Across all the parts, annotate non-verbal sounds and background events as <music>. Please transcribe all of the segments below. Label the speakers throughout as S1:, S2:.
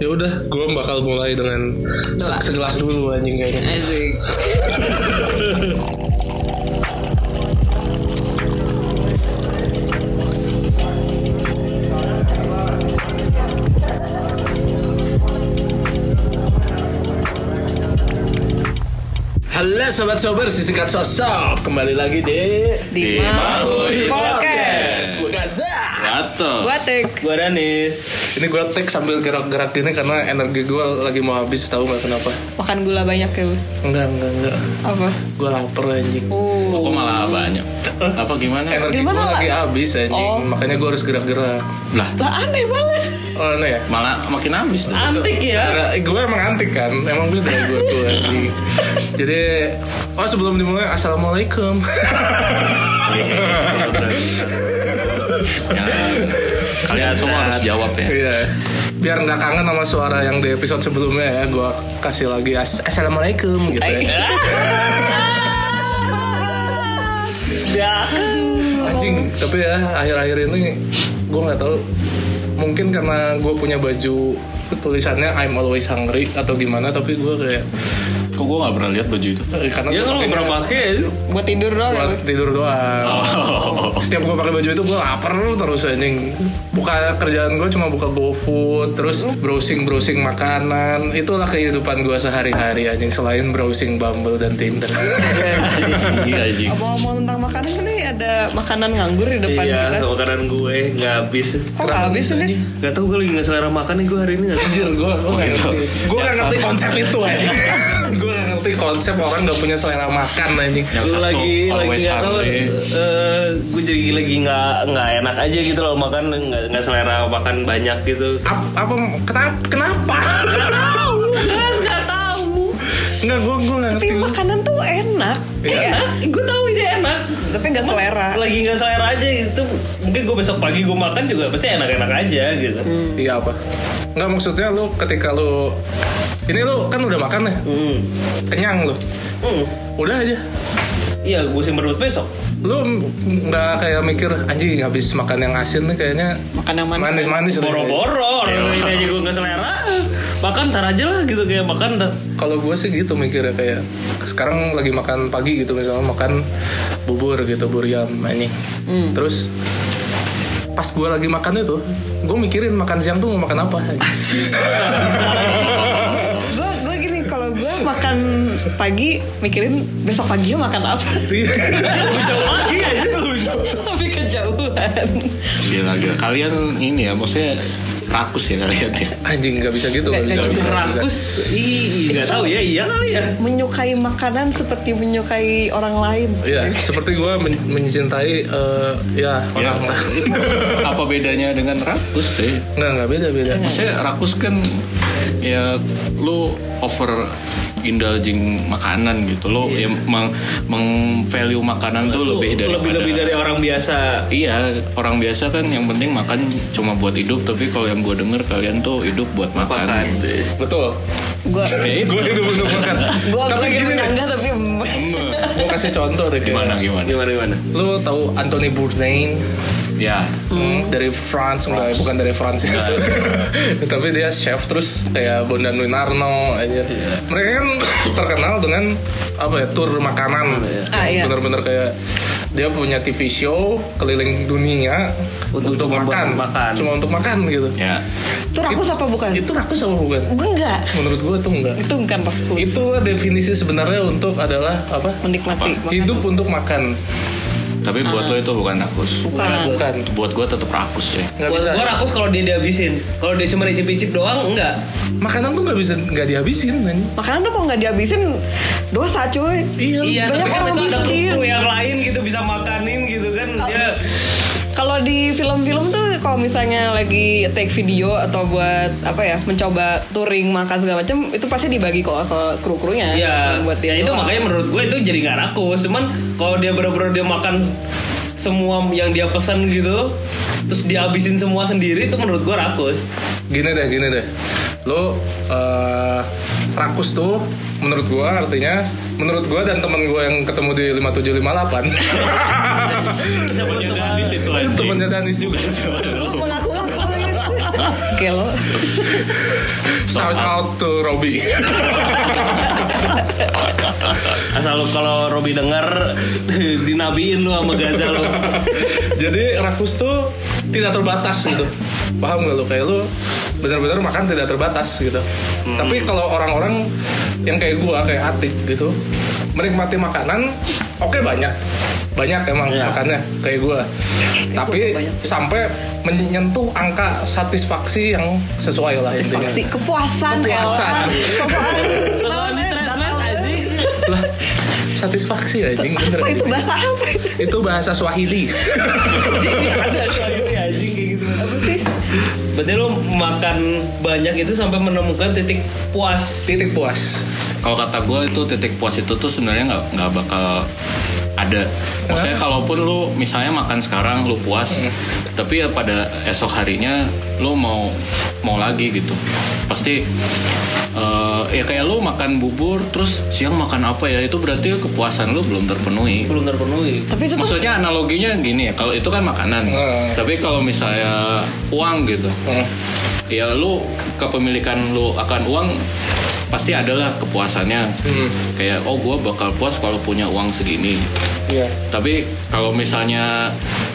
S1: ya udah gue bakal mulai dengan
S2: Doa.
S1: segelas dulu anjing kayaknya
S2: Asik.
S1: Halo sobat sober sisikat sosok kembali lagi di
S2: Di
S1: Maui
S2: Podcast.
S1: Gue Gaza
S3: Gato.
S2: Gua tek.
S4: Gua Danis.
S1: Ini gue tek sambil gerak-gerak gini karena energi gue lagi mau habis tahu nggak kenapa
S2: Makan gula banyak ya lu.
S1: Enggak enggak enggak
S2: Apa?
S1: Gue lapar anjing
S2: Oh.
S3: Kok malah banyak? Apa gimana?
S1: Energi gue
S2: Gimana, Pak?
S1: lagi habis anjing
S2: Oh.
S1: Makanya gue harus gerak-gerak
S3: Lah,
S2: Lah aneh banget.
S1: Oh aneh ya
S3: malah makin habis tuh.
S4: Antik ya.
S1: Gue emang antik kan Emang beda gue tuh anjing Jadi Oh sebelum dimulai Assalamualaikum
S3: Ya, kalian semua harus jawab ya.
S1: Iya. Biar nggak kangen sama suara yang di episode sebelumnya ya, gue kasih lagi "As- assalamualaikum gitu. Ya.
S4: Ya.
S1: Anjing, tapi ya akhir-akhir ini gue nggak tahu. Mungkin karena gue punya baju tulisannya I'm always hungry atau gimana, tapi gue kayak
S3: Kok gue gak pernah lihat baju itu?
S1: eh, karena gua
S4: Ya lu nggak
S1: pakainya
S4: pernah pakai ya.
S2: Buat tidur doang ya
S1: buat
S2: lu.
S1: tidur doang.
S3: <laughs> Oh,
S1: Setiap gue pakai baju itu gue lapar terus anjing. Buka kerjaan gue cuma buka GoFood, terus browsing browsing makanan. Itulah kehidupan gue sehari-hari anjing selain browsing Bumble dan Tinder.
S3: iya anjing.
S2: Ngomong-ngomong tentang makanan kan nih ada makanan nganggur di depan
S4: Iya,
S2: kita.
S4: sama makanan gue nggak habis.
S2: Kok nggak habis nih?
S4: Gak tau gue lagi nggak selera makan nih gue hari ini nggak tahu.
S1: Anjir gue gue nggak
S3: gitu.
S1: ngerti. Gue nggak ngerti konsep itu anjing. gue nggak ngerti konsep orang nggak punya selera makan anjing.
S3: Yang
S4: Lu
S3: satu,
S4: lagi lagi
S3: always
S4: nggak tahu.
S3: hungry.
S4: eh, gue jadi lagi nggak nggak enak aja gitu loh makan nggak nggak selera makan banyak gitu.
S1: Ap- apa kenapa kenapa? <laughs>
S4: Gak tahu.
S1: Nggak gue gue nggak
S2: Tapi
S1: ngerti.
S2: makanan tuh enak.
S1: Iya.
S2: Enak. Gue tahu ide enak. Tapi nggak selera.
S4: Lagi nggak selera aja itu mungkin gue besok pagi gue makan juga pasti enak-enak aja gitu.
S1: Iya apa? Nggak maksudnya lu ketika lu ini lu kan udah makan ya,
S4: Hmm.
S1: kenyang lu.
S4: Hmm.
S1: Udah aja,
S4: Iya, gue simpen buat besok.
S1: lu m- nggak kayak mikir anjing habis makan yang asin nih kayaknya
S2: Makan yang manis. ya?
S1: manis-manis deh."
S4: Boro-boro, orang lain aja gue nggak selera. Makan tar aja lah gitu kayak makan tar.
S1: kalau gue sih gitu mikirnya kayak sekarang lagi makan pagi gitu misalnya makan bubur gitu buriam ini terus pas gue lagi makan itu gue mikirin makan siang tuh mau makan apa
S2: Gue gue gini kalau gue makan pagi mikirin besok pagi makan apa.
S1: Iya.
S4: Lagi aja lu.
S2: Tapi kejauhan.
S3: Gila, gila. Kalian ini ya, maksudnya rakus ya kalian ya.
S1: anjing nggak bisa gitu nggak bisa
S2: Nggak
S1: nggak bisa, nggak bisa.
S4: Rakus. Ih, nggak tahu ya, iya kali ya.
S2: Menyukai makanan seperti menyukai orang lain.
S1: Iya, seperti gue mencintai eh, ya
S3: Ya,
S1: orang lah.
S3: itu <laughs> apa bedanya dengan rakus sih?
S1: Nggak nggak beda beda.
S3: Maksudnya rakus kan ya lu over indulging makanan gitu. Lu ya meng, meng- value makanan tuh lebih dari
S4: lebih lebih dari orang biasa.
S3: Iya, orang biasa kan yang penting makan cuma buat hidup, tapi kalau yang gue denger kalian tuh hidup buat makan.
S4: Makan.
S1: Betul.
S2: Gue
S3: Eh,
S1: Gue itu bener makan.
S2: gue
S1: Tapi
S2: lagi
S1: gini deh,
S2: menyanggah tapi
S1: gue kasih contoh deh. kayak.
S3: gimana gimana?
S4: Gimana gimana?
S1: Lu tahu Anthony Bourdain?
S3: Ya,
S1: Hmm, dari France, enggak, bukan dari France ya. <laughs> tapi dia chef terus kayak Bondan Winarno aja mereka kan terkenal dengan apa ya tour makanan
S2: Ah, iya.
S1: bener-bener kayak dia punya TV show keliling dunia
S4: Untuk- untuk
S1: makan.
S4: makan.
S1: cuma untuk makan gitu
S3: ya.
S2: Itu rakus apa bukan?
S1: itu rakus apa bukan
S2: Gue enggak.
S1: menurut gua tuh enggak
S2: Itu bukan rakus.
S1: itulah definisi sebenarnya untuk adalah apa
S2: Menikmati. makan.
S1: hidup untuk makan
S3: Tapi buat lo itu bukan rakus.
S2: Bukan.
S1: bukan
S3: Buat gue tetap rakus sih.
S1: nggak bisa
S4: Gue rakus kalau dia dihabisin. Kalau dia cuma icip-icip doang, enggak.
S1: makanan tuh nggak bisa nggak dihabisin anjing.
S2: Makanan tuh kalau nggak dihabisin dosa cuy.
S4: Iya,
S2: banyak
S4: tapi kan
S2: orang
S4: itu ada
S2: miskin.
S4: kru yang lain gitu bisa makanin gitu kan. Dia
S2: Kalau di film-film tuh kalau misalnya lagi take video atau buat apa ya mencoba touring makan segala macam itu pasti dibagi kok ke kru-krunya.
S4: Iya,
S2: Nah, Buat
S4: ya
S2: dia
S4: itu
S2: doang.
S4: makanya menurut gue itu jadi nggak rakus. Cuman kalau dia bener-bener dia makan semua yang dia pesan gitu, terus dia habisin semua sendiri itu menurut gue rakus.
S1: gini deh gini deh lo eh, rakus tuh menurut gua artinya menurut gua dan teman gua yang ketemu di 5758
S3: Siapa di situ
S1: <laughs> temennya Danis juga
S2: Mengaku-ngaku, guys. <laughs> Gelo.
S1: Shout out to Robby.
S4: Asal lu kalau Robi denger <laughs> dinabiin lu sama Gaza lu.
S1: Jadi rakus tuh tidak terbatas gitu. Paham gak lu? Kayak lu benar-benar makan tidak terbatas gitu.
S2: Hmm.
S1: Tapi kalau orang-orang yang kayak gua, kayak Atik gitu, menikmati makanan, oke banyak. Banyak emang
S4: Iya.
S1: makannya kayak gua. Tapi sampai menyentuh angka satisfaksi yang sesuai lah intinya.
S2: Si
S1: Kepuasan.
S2: kepuasan, Elan. Kepuasan. eh,
S4: Kalau di translate anjing.
S1: Lah,
S2: <laughs>
S1: satisfaksi ya anjing bener.
S2: Apa itu bahasa apa itu?
S1: Itu bahasa
S2: <laughs>
S1: Swahili.
S4: Ada soalnya anjing kayak gitu.
S2: Apa sih?
S4: Berarti lu makan banyak itu sampai menemukan titik puas.
S1: Titik puas.
S3: Kalau kata gue itu titik puas itu tuh sebenarnya nggak nggak bakal ada. Maksudnya kalaupun lu misalnya makan sekarang lu puas, tapi ya pada esok harinya lu mau mau lagi gitu. Pasti eh, ya kayak lu makan bubur terus siang makan apa ya itu berarti kepuasan lu belum terpenuhi.
S4: Belum terpenuhi.
S2: Tapi itu tuh
S3: Maksudnya analoginya gini ya, kalau itu kan makanan.
S1: Hmm.
S3: Tapi kalau misalnya uang gitu,
S1: Hmm.
S3: ya lu kepemilikan lu akan uang pasti adalah kepuasannya kayak oh gua bakal puas kalau punya uang segini
S1: Iya.
S3: tapi kalau misalnya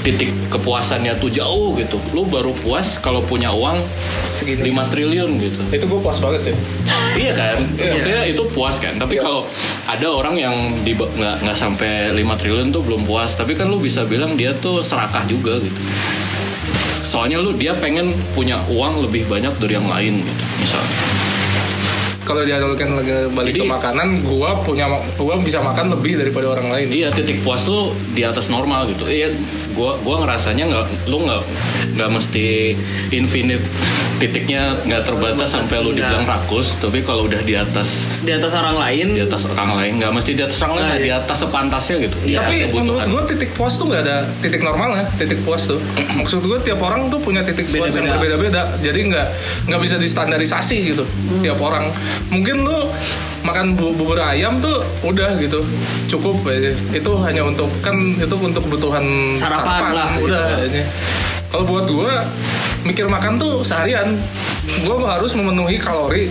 S3: titik kepuasannya tuh jauh gitu lu baru puas kalau punya uang
S1: Segini.
S3: 5 triliun gitu
S1: Itu gue puas banget sih.
S3: iya kan maksudnya itu puas kan tapi kalau ada orang yang di nggak nggak sampai 5 triliun tuh belum puas tapi kan lu bisa bilang dia tuh serakah juga gitu soalnya lu dia pengen punya uang lebih banyak dari yang lain gitu misalnya
S1: Kalau dianalogikan lagi balik
S3: Jadi-
S1: ke makanan, gua punya gua bisa makan lebih daripada orang lain.
S3: Iya titik puas lu di atas normal gitu. Iya, gua gua ngerasanya nggak lu nggak nggak mesti infinite titiknya nggak terbatas iya. sampai lu dibilang rakus. Tapi kalau udah di atas
S4: Di atas orang lain
S3: di atas orang lain nggak mesti di atas orang lain, di atas sepantasnya gitu. Di
S4: Iya,
S3: atas
S1: Tapi menurut
S3: Nah,
S4: kan.
S3: kebutuhan.
S1: gua titik puas tuh nggak ada titik normalnya, titik puas
S4: <clears throat>
S1: tuh. Maksud gua tiap orang tuh punya titik puas yang
S4: Beda-beda.
S1: berbeda-beda. Jadi nggak nggak bisa distandarisasi gitu
S4: Hmm.
S1: tiap orang. Mungkin lu makan bu- bubur ayam tuh udah gitu cukup aja. itu hanya untuk kan itu untuk kebutuhan
S4: Sarapan lah, gitu
S1: udah
S4: kan.
S1: aja. kalau buat gua mikir makan tuh seharian gua harus memenuhi kalori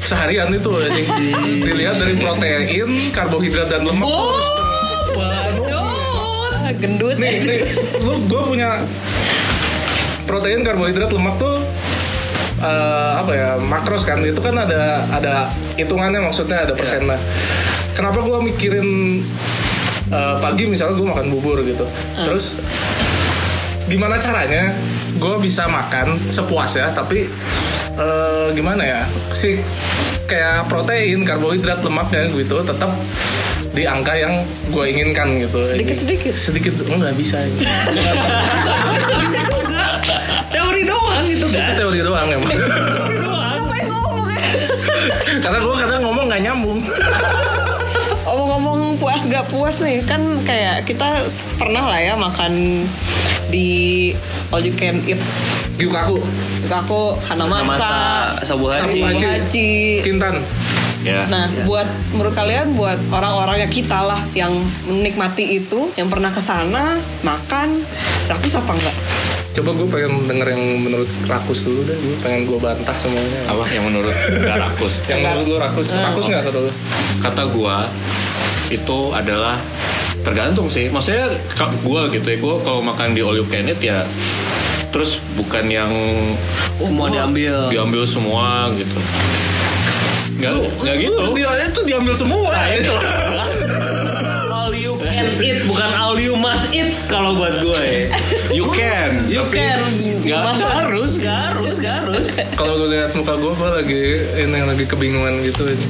S1: seharian itu
S4: <laughs>
S1: anjing. dilihat dari protein karbohidrat dan lemak
S4: Oh,
S2: bacot. Gendut.
S1: nih, nih lu gue punya protein karbohidrat lemak tuh eh, apa ya makros kan itu kan ada ada hitungannya maksudnya ada persennya kenapa gue mikirin eh, pagi misalnya gue makan bubur gitu terus gimana caranya gue bisa makan sepuas ya tapi eh, gimana ya si kayak protein karbohidrat lemaknya gitu tetap di angka yang gue inginkan gitu
S2: Sedikit-sedikit.
S1: sedikit nggak bisa ini.
S4: <laughs> teori doang itu
S1: itu
S4: kan.
S1: teori doang emang <laughs>
S4: Teori doang.
S2: Ngapain ngomong ya?
S1: karena gue kadang ngomong nggak nyambung
S2: Ngomong-ngomong puas gak puas nih Kan kayak kita s- pernah lah ya makan di All You Can Eat
S1: giuk aku
S2: Aku Hana
S4: Masa
S2: Masa,
S4: sabu
S1: Sabu
S4: haji.
S1: haji.
S2: Haji
S1: kintan
S3: Ya.
S2: Nah, buat menurut kalian buat orang-orang yang kita lah yang menikmati itu, yang pernah ke sana makan rakus apa enggak?
S1: coba gue pengen denger yang menurut rakus dulu deh gue pengen gue bantah semuanya
S3: Apa yang menurut nggak rakus?
S1: yang menurut lu rakus rakus nggak kata lu
S3: kata gua itu adalah tergantung sih maksudnya ka- gua gitu ya gua kalau makan di all you can eat ya terus bukan yang oh,
S4: Semua
S3: gua-
S4: diambil.
S3: diambil semua gitu nggak nggak gitu
S1: terus dia Iya, itu diambil semua itu
S4: Nah, All you can eat bukan all you must eat kalau buat gue ya.
S3: you can you
S4: can.
S3: nggak
S4: Masa-
S3: harus
S4: Gak harus, gak harus.
S1: kalau lu lihat muka gue gue lagi ini lagi kebingungan gitu ini.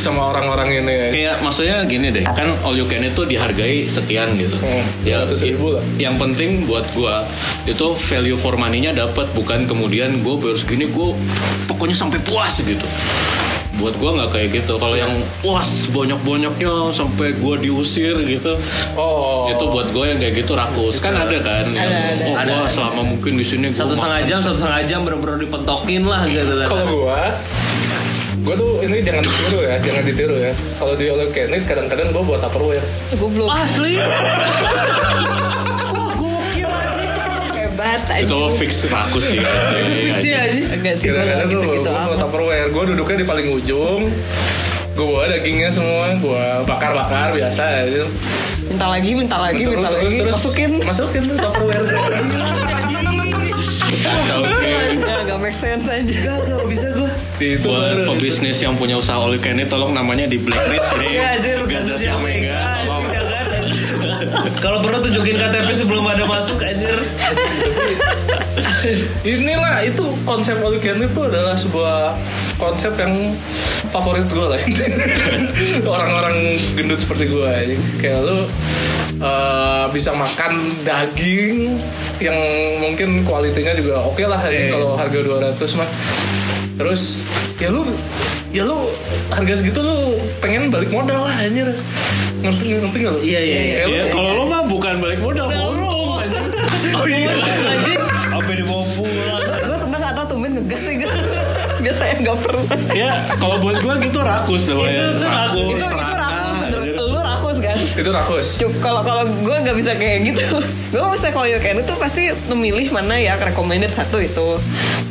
S1: sama orang-orang ini ya.
S3: kayak maksudnya gini deh kan all you can itu dihargai sekian gitu
S1: Hmm, 200 ribu lah.
S3: yang penting buat gua itu value for money-nya dapat bukan kemudian gua baru segini gua pokoknya sampai puas gitu buat gua nggak kayak gitu kalau yang puas banyak banyaknya sampai gua diusir gitu
S1: oh
S3: itu buat gue yang kayak gitu rakus kan ada kan yang,
S2: ada.
S3: oh gua
S4: Ada, Iya. ada.
S3: selama mungkin di sini gua
S4: Satu
S3: makan
S4: setengah jam, satu setengah jam bener-bener dipentokin lah gitu.
S1: Kalau gua Gua tuh ini jangan ditiru ya, jangan ditiru ya. Kalau di All You Can Eat, kadang-kadang gua buat tupperware.
S2: Gue belum
S4: Asli.
S2: hebat. aja.
S3: itu fix rakus sih
S4: <laughs> Fix
S3: anjing.
S4: ya aja.
S2: Enggak sih, gue
S1: Kira-kira tuh
S2: gitu-gitu
S1: gue bawa
S2: amat.
S1: tupperware Gue duduknya di paling ujung Gue bawa dagingnya semua Gue bakar-bakar biasa gitu.
S2: Minta lagi, minta lagi, minta lagi. Masukin.
S1: Masukin tuh tupperware
S3: Kacau sih.
S2: Gak make sense aja.
S4: Gak bisa gue.
S1: Itu
S3: buat
S1: baru
S3: pebisnis yang punya usaha all you can eat, tolong namanya di blacklist ini
S4: Iya anjir
S3: Gaza Mega
S4: kasusnya Mega. Iya, kan?
S3: tolong
S4: Jangan. <laughs> Kalau perlu tunjukin KTP sebelum ada masuk anjir.
S1: Inilah itu konsep all you can eat itu adalah sebuah konsep yang favorit gue lah <laughs> orang-orang gendut seperti gue ini kayak lu eh, bisa makan daging yang mungkin kualitinya juga oke lah
S4: Iya,
S1: ini kalau harga 200 mah terus ya lu ya lu harga segitu lu pengen balik modal lah anjir ngerti ngerti nggak lu
S4: Iya, iya, iya.
S1: Kayak lu-
S3: ya kalau lo mah bukan balik modal
S4: Bolong anjir.
S3: oh iya
S4: Anjir. Sampai dibawa pulang.
S2: Gue seneng atau tumben ngegas sih gitu. Biasanya gak pernah.
S3: ya kalau buat gue gitu rakus namanya
S4: Itu- itu rakus.
S2: Itu, itu rakus bener. Lu rakus guys.
S1: itu rakus
S2: Cuk, kalau kalau gue nggak bisa kayak gitu. <laughs> Gue bisa kalau kayak itu pasti memilih mana ya recommended satu itu.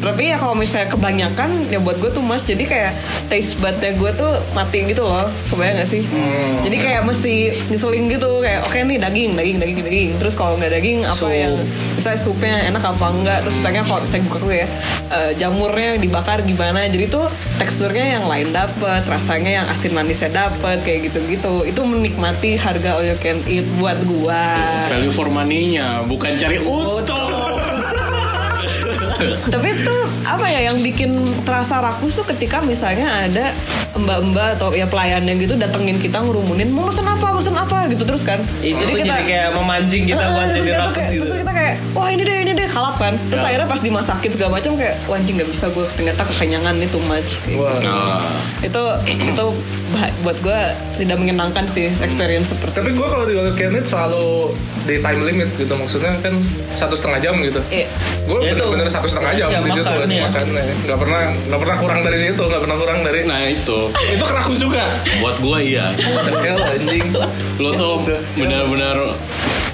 S2: Tapi ya kalau misalnya kebanyakan ya buat gue tuh mas jadi kayak taste budnya gue tuh mati gitu loh. Kebayang gak sih? jadi kayak mesti nyeselin gitu kayak oke nih daging daging daging daging. Terus kalau nggak daging apa
S4: Sup.
S2: yang misalnya supnya enak apa enggak. Terus misalnya kalau misalnya buka tuh ya eh, jamurnya yang dibakar gimana. Jadi tuh teksturnya yang lain dapet, rasanya yang asin manisnya dapet kayak gitu-gitu. Itu menikmati harga all you can eat buat gua.
S4: Iya.
S3: value for money-nya bukan cari untung
S2: Tapi itu apa ya yang bikin terasa rakus tuh ketika misalnya ada mbak-mbak atau ya pelayan yang gitu datengin kita ngerumunin mau pesen apa pesen apa gitu terus kan.
S4: Itu tuh Iya, jadi kayak memancing kita
S2: Heeh,
S4: buat
S2: terus
S4: jadi
S2: Ah, kita
S4: rakus
S2: kayak-
S4: gitu.
S2: terus kita kayak wah ini deh ini deh kalap kan.
S4: Ya.
S2: Terus akhirnya pas dimasakin segala macam kayak wah anjing nggak bisa gue ternyata kekenyangan nih too much.
S1: Wah.
S3: nah
S2: itu itu bah- buat gue tidak menyenangkan sih
S4: Hmm.
S2: experience seperti
S1: Tapi gue kalau di All You Can Eat selalu di time limit gitu maksudnya kan satu setengah jam gitu.
S2: Iya.
S1: Gue
S4: Ya itu,
S1: bener-bener satu setengah jam,
S4: jam
S1: di situ
S4: makan,
S1: kan
S4: ya.
S1: makannya. Gak pernah nggak pernah kurang dari situ, gak pernah kurang dari.
S4: Nah.
S3: nah, itu
S1: Itu kerakus juga.
S3: buat gue iya
S1: Hell, anjing.
S3: lo tuh benar-benar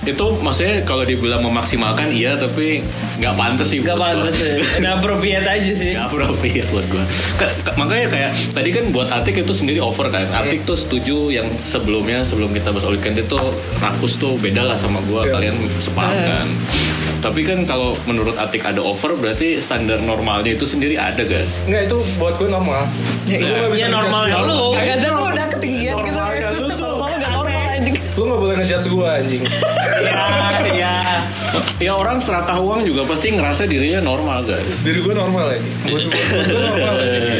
S3: itu maksudnya kalau dibilang memaksimalkan iya tapi nggak pantas sih buat
S4: Gak
S3: gua.
S4: pantas ya. Gak appropriate aja sih.
S3: Gak appropriate buat gue Makanya kayak Tadi kan buat Atik itu sendiri over kan Atik tuh setuju yang sebelumnya Sebelum kita bahas Oli Candy tuh Rakus tuh beda lah sama gue
S1: Iya.
S3: Kalian sepaham kan Tapi kan kalau menurut Atik ada over Berarti standar normalnya itu sendiri ada guys
S1: Nggak itu buat gue normal.
S2: Ya,
S1: Lu
S2: iya.
S1: nggak
S4: Ya,
S1: bisa
S4: normal kan
S1: ngejudge
S4: ya
S1: gua.
S4: lu.
S2: agak tuh udah ketinggian gitu
S3: Normal ya, lu tuh.
S2: Normal nggak normal anjing
S1: Lu gak boleh ngejudge gue anjing.
S4: Iya, iya.
S3: Ya orang seratah uang juga pasti ngerasa dirinya normal guys
S1: Diri gue normal ya. Buat gue normal. ya. anjing.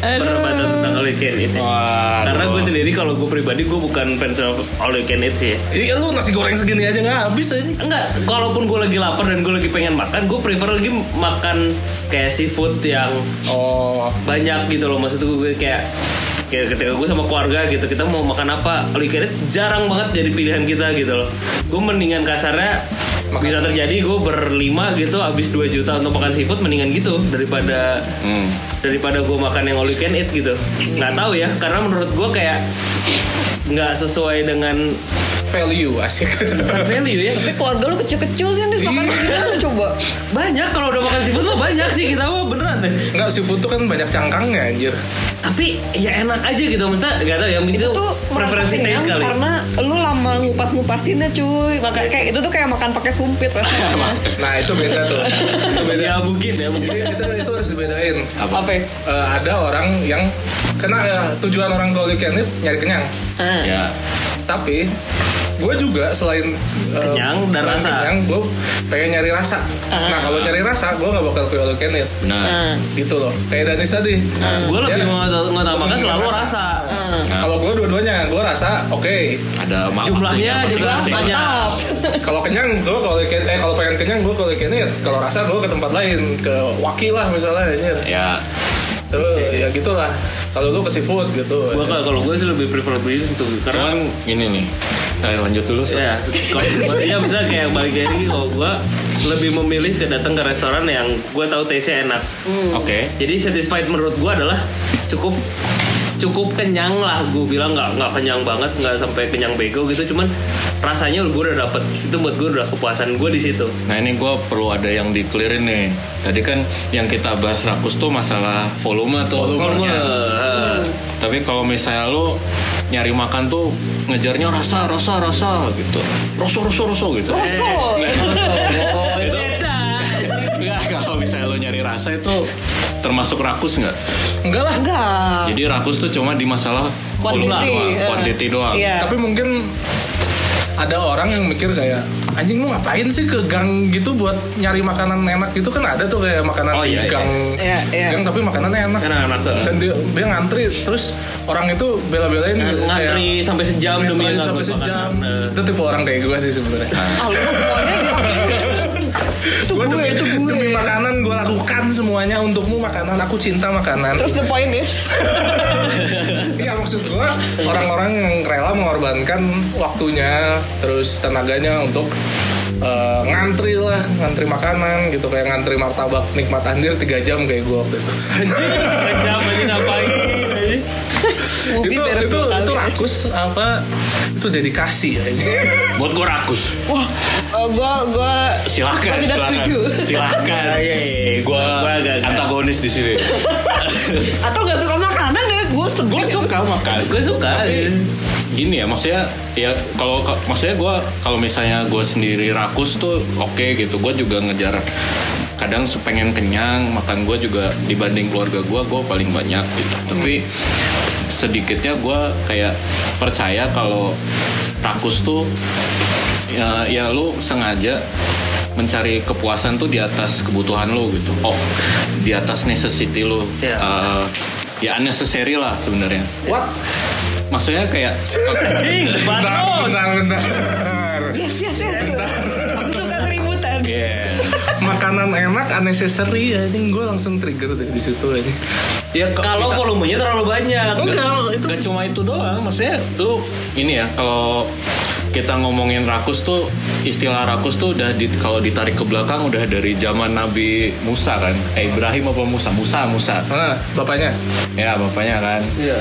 S4: Perdebatan tentang all you can eat. ya.
S3: Wah,
S4: Karena gue sendiri kalau gue pribadi gue bukan fans of all you can eat ya.
S1: Iya lu nasi goreng segini aja nggak habis aja.
S4: Enggak, kalaupun gue lagi lapar dan gue lagi pengen makan, gue prefer lagi makan kayak seafood yang
S1: Oh.
S4: banyak gitu loh. Maksud gue kayak kayak ketika gue sama keluarga gitu, kita mau makan apa, all you can eat jarang banget jadi pilihan kita gitu loh. Gue mendingan kasarnya bisa terjadi gue berlima gitu habis 2 juta untuk makan seafood mendingan gitu daripada
S3: Hmm.
S4: daripada gue makan yang all you can eat gitu nggak tahu ya karena menurut gue kayak nggak sesuai dengan
S1: Value asik.
S4: bukan value ya
S2: tapi keluarga lu kecil-kecil sih nih
S4: Iya.
S2: makan gitu coba
S4: banyak kalau udah makan seafood mah banyak sih kita mah beneran deh
S1: Nggak seafood tuh kan banyak cangkangnya anjir.
S4: tapi ya enak aja gitu maksudnya nggak tahu ya itu,
S2: itu
S4: preferensi
S2: merasa
S4: taste
S2: kenyang
S4: kali
S2: karena lu lama ngupas-ngupasinnya cuy makan kayak itu tuh kayak makan pakai sumpit
S4: <laughs>
S2: rasanya
S1: Nah itu beda tuh. Itu beda.
S4: ya mungkin ya mungkin
S1: Jadi itu, itu harus dibedain.
S2: apa ya?
S1: Eh, ada orang yang kena eh, tujuan orang kalau weekend itu nyari kenyang.
S2: Ah.
S3: Ya
S1: Tapi gue juga selain eh,
S4: Kenyang dan
S1: selain
S4: rasa. Ah.
S1: kenyang, gue pengen nyari rasa. Nah kalau nyari rasa, gue nggak bakal ke all you can eat.
S3: benar
S2: Ah.
S1: Gitu loh. Kayak Danis tadi.
S4: gue lebih
S3: Ya.
S1: Dia-
S4: mau makan
S1: Lebih
S4: selalu
S3: Iya.
S1: rasa.
S4: rasa Ah.
S3: Nah.
S1: Kalau gue dua-duanya, gue rasa oke.
S3: Ada mak-
S4: Jumlahnya
S3: waktunya
S4: juga
S3: masing-masing.
S4: banyak.
S2: mantap
S1: kalau kenyang gue kalau weekend- eh kalau pengen kenyang gue kalau weekend eat. Kalau rasa gue ke tempat lain, ke Waki lah misalnya. anjir.
S4: Eh,
S3: Ya
S1: Terus ya gitulah. Kalau lu ke seafood gitu.
S4: gue kalau gue sih lebih prefer beli itu karena
S3: Cuman gini nih Nah, lanjut dulu Sat.
S4: ya kalau maksudnya bisa kayak balik lagi kalau gue lebih memilih ke datang ke restoran yang gue tahu taste nya enak
S3: Oke
S4: Jadi satisfied menurut gua adalah cukup cukup kenyang lah gue bilang nggak nggak kenyang banget nggak sampai kenyang bego gitu cuman rasanya gue udah dapet itu buat gue udah kepuasan gue di situ
S3: Nah ini gue perlu ada yang di clearin nih. Tadi kan yang kita bahas rakus tuh masalah volume tuh.
S4: Volume,
S3: umurnya. Hmm.
S4: eh,
S3: Tapi kalau misalnya lo nyari makan tuh ngejarnya rasa rasa rasa gitu. Rosso rosso rosso gitu.
S2: Kesel.
S3: Itu- Enggak, <laughs> kalau misalnya lo nyari rasa itu termasuk rakus nggak?
S1: Enggak lah.
S2: Enggak.
S3: Jadi rakus tuh cuma di masalah volume
S2: Ah. Quantity,
S3: doang,
S2: eh.
S3: quantity doang.
S2: Iya.
S1: Tapi mungkin ada orang yang mikir kayak anjing lu ngapain sih ke gang gitu buat nyari makanan enak gitu kan ada tuh kayak makanan
S4: Oh,
S1: di
S4: iya, iya.
S1: gang
S2: Iya, iya.
S1: gang tapi makanannya enak
S4: enak-enak eh. tuh
S1: dan dia, dia ngantri terus orang itu bela-belain
S4: Ng- Kan Iya, ngantri
S1: kayak-
S4: sampai sejam demi Nah.
S1: ngantri sampai
S4: ngangkut
S1: sejam
S4: makanan.
S1: itu tipe orang kayak gue sih sebenarnya
S2: Ah, lu mah semuanya itu
S1: Gua
S2: gue,
S1: demi,
S2: itu gue.
S1: demi makanan gue lakukan semuanya untukmu makanan aku cinta makanan
S2: Terus the point is
S1: Iya maksud gua orang-orang yang rela mengorbankan waktunya terus tenaganya untuk eh, ngantri lah ngantri makanan gitu kayak ngantri martabak nikmat andir 3 jam kayak gua waktu itu.
S4: Kerja masih ngapain anjing.
S2: movie
S1: itu
S2: beres
S1: itu,
S2: dua kali. ya.
S1: itu rakus apa itu dedikasi ya.
S3: Buat gue rakus.
S2: Wah, eh, gua gua
S3: Silakan,
S2: Gua tidak
S3: silakan.
S2: setuju.
S3: Silakan.
S4: Iya, iya, iya.
S3: Gue
S4: Gua agak-
S3: antagonis di sini.
S2: atau gak suka makanan ya, gue sedih.
S3: gue suka makan
S4: Gua suka. iya.
S3: tapi gini ya maksudnya ya kalau ka- maksudnya gue kalau misalnya gue sendiri rakus tuh oke gitu gue juga ngejar kadang se- pengen kenyang makan gue juga dibanding keluarga gue gue paling banyak gitu
S4: Hmm.
S3: tapi sedikitnya gue kayak percaya kalau rakus tuh ya, ya lu sengaja mencari kepuasan tuh di atas kebutuhan lu gitu oh di atas necessity lu
S4: Iya.
S3: Eh, ya unnecessary lah sebenarnya
S1: What?
S3: maksudnya kayak
S4: Anjing, Barnos.
S1: bentar, bentar.
S2: Yes, yes, yes. Aku suka keributan.
S3: yeah.
S1: makanan enak unnecessary ya ini gue langsung trigger deh di situ aja.
S3: ya ke-
S4: Kalau
S3: bisa-
S4: volumenya terlalu banyak.
S1: Enggak itu
S3: Gak cuma itu doang, maksudnya lu ini ya kalau kita ngomongin rakus tuh istilah rakus tuh udah di, kalau ditarik ke belakang udah dari zaman Nabi Musa kan, eh, Ibrahim apa Musa, Musa Musa,
S1: Ah, bapaknya
S3: ya bapaknya kan.
S4: Iya.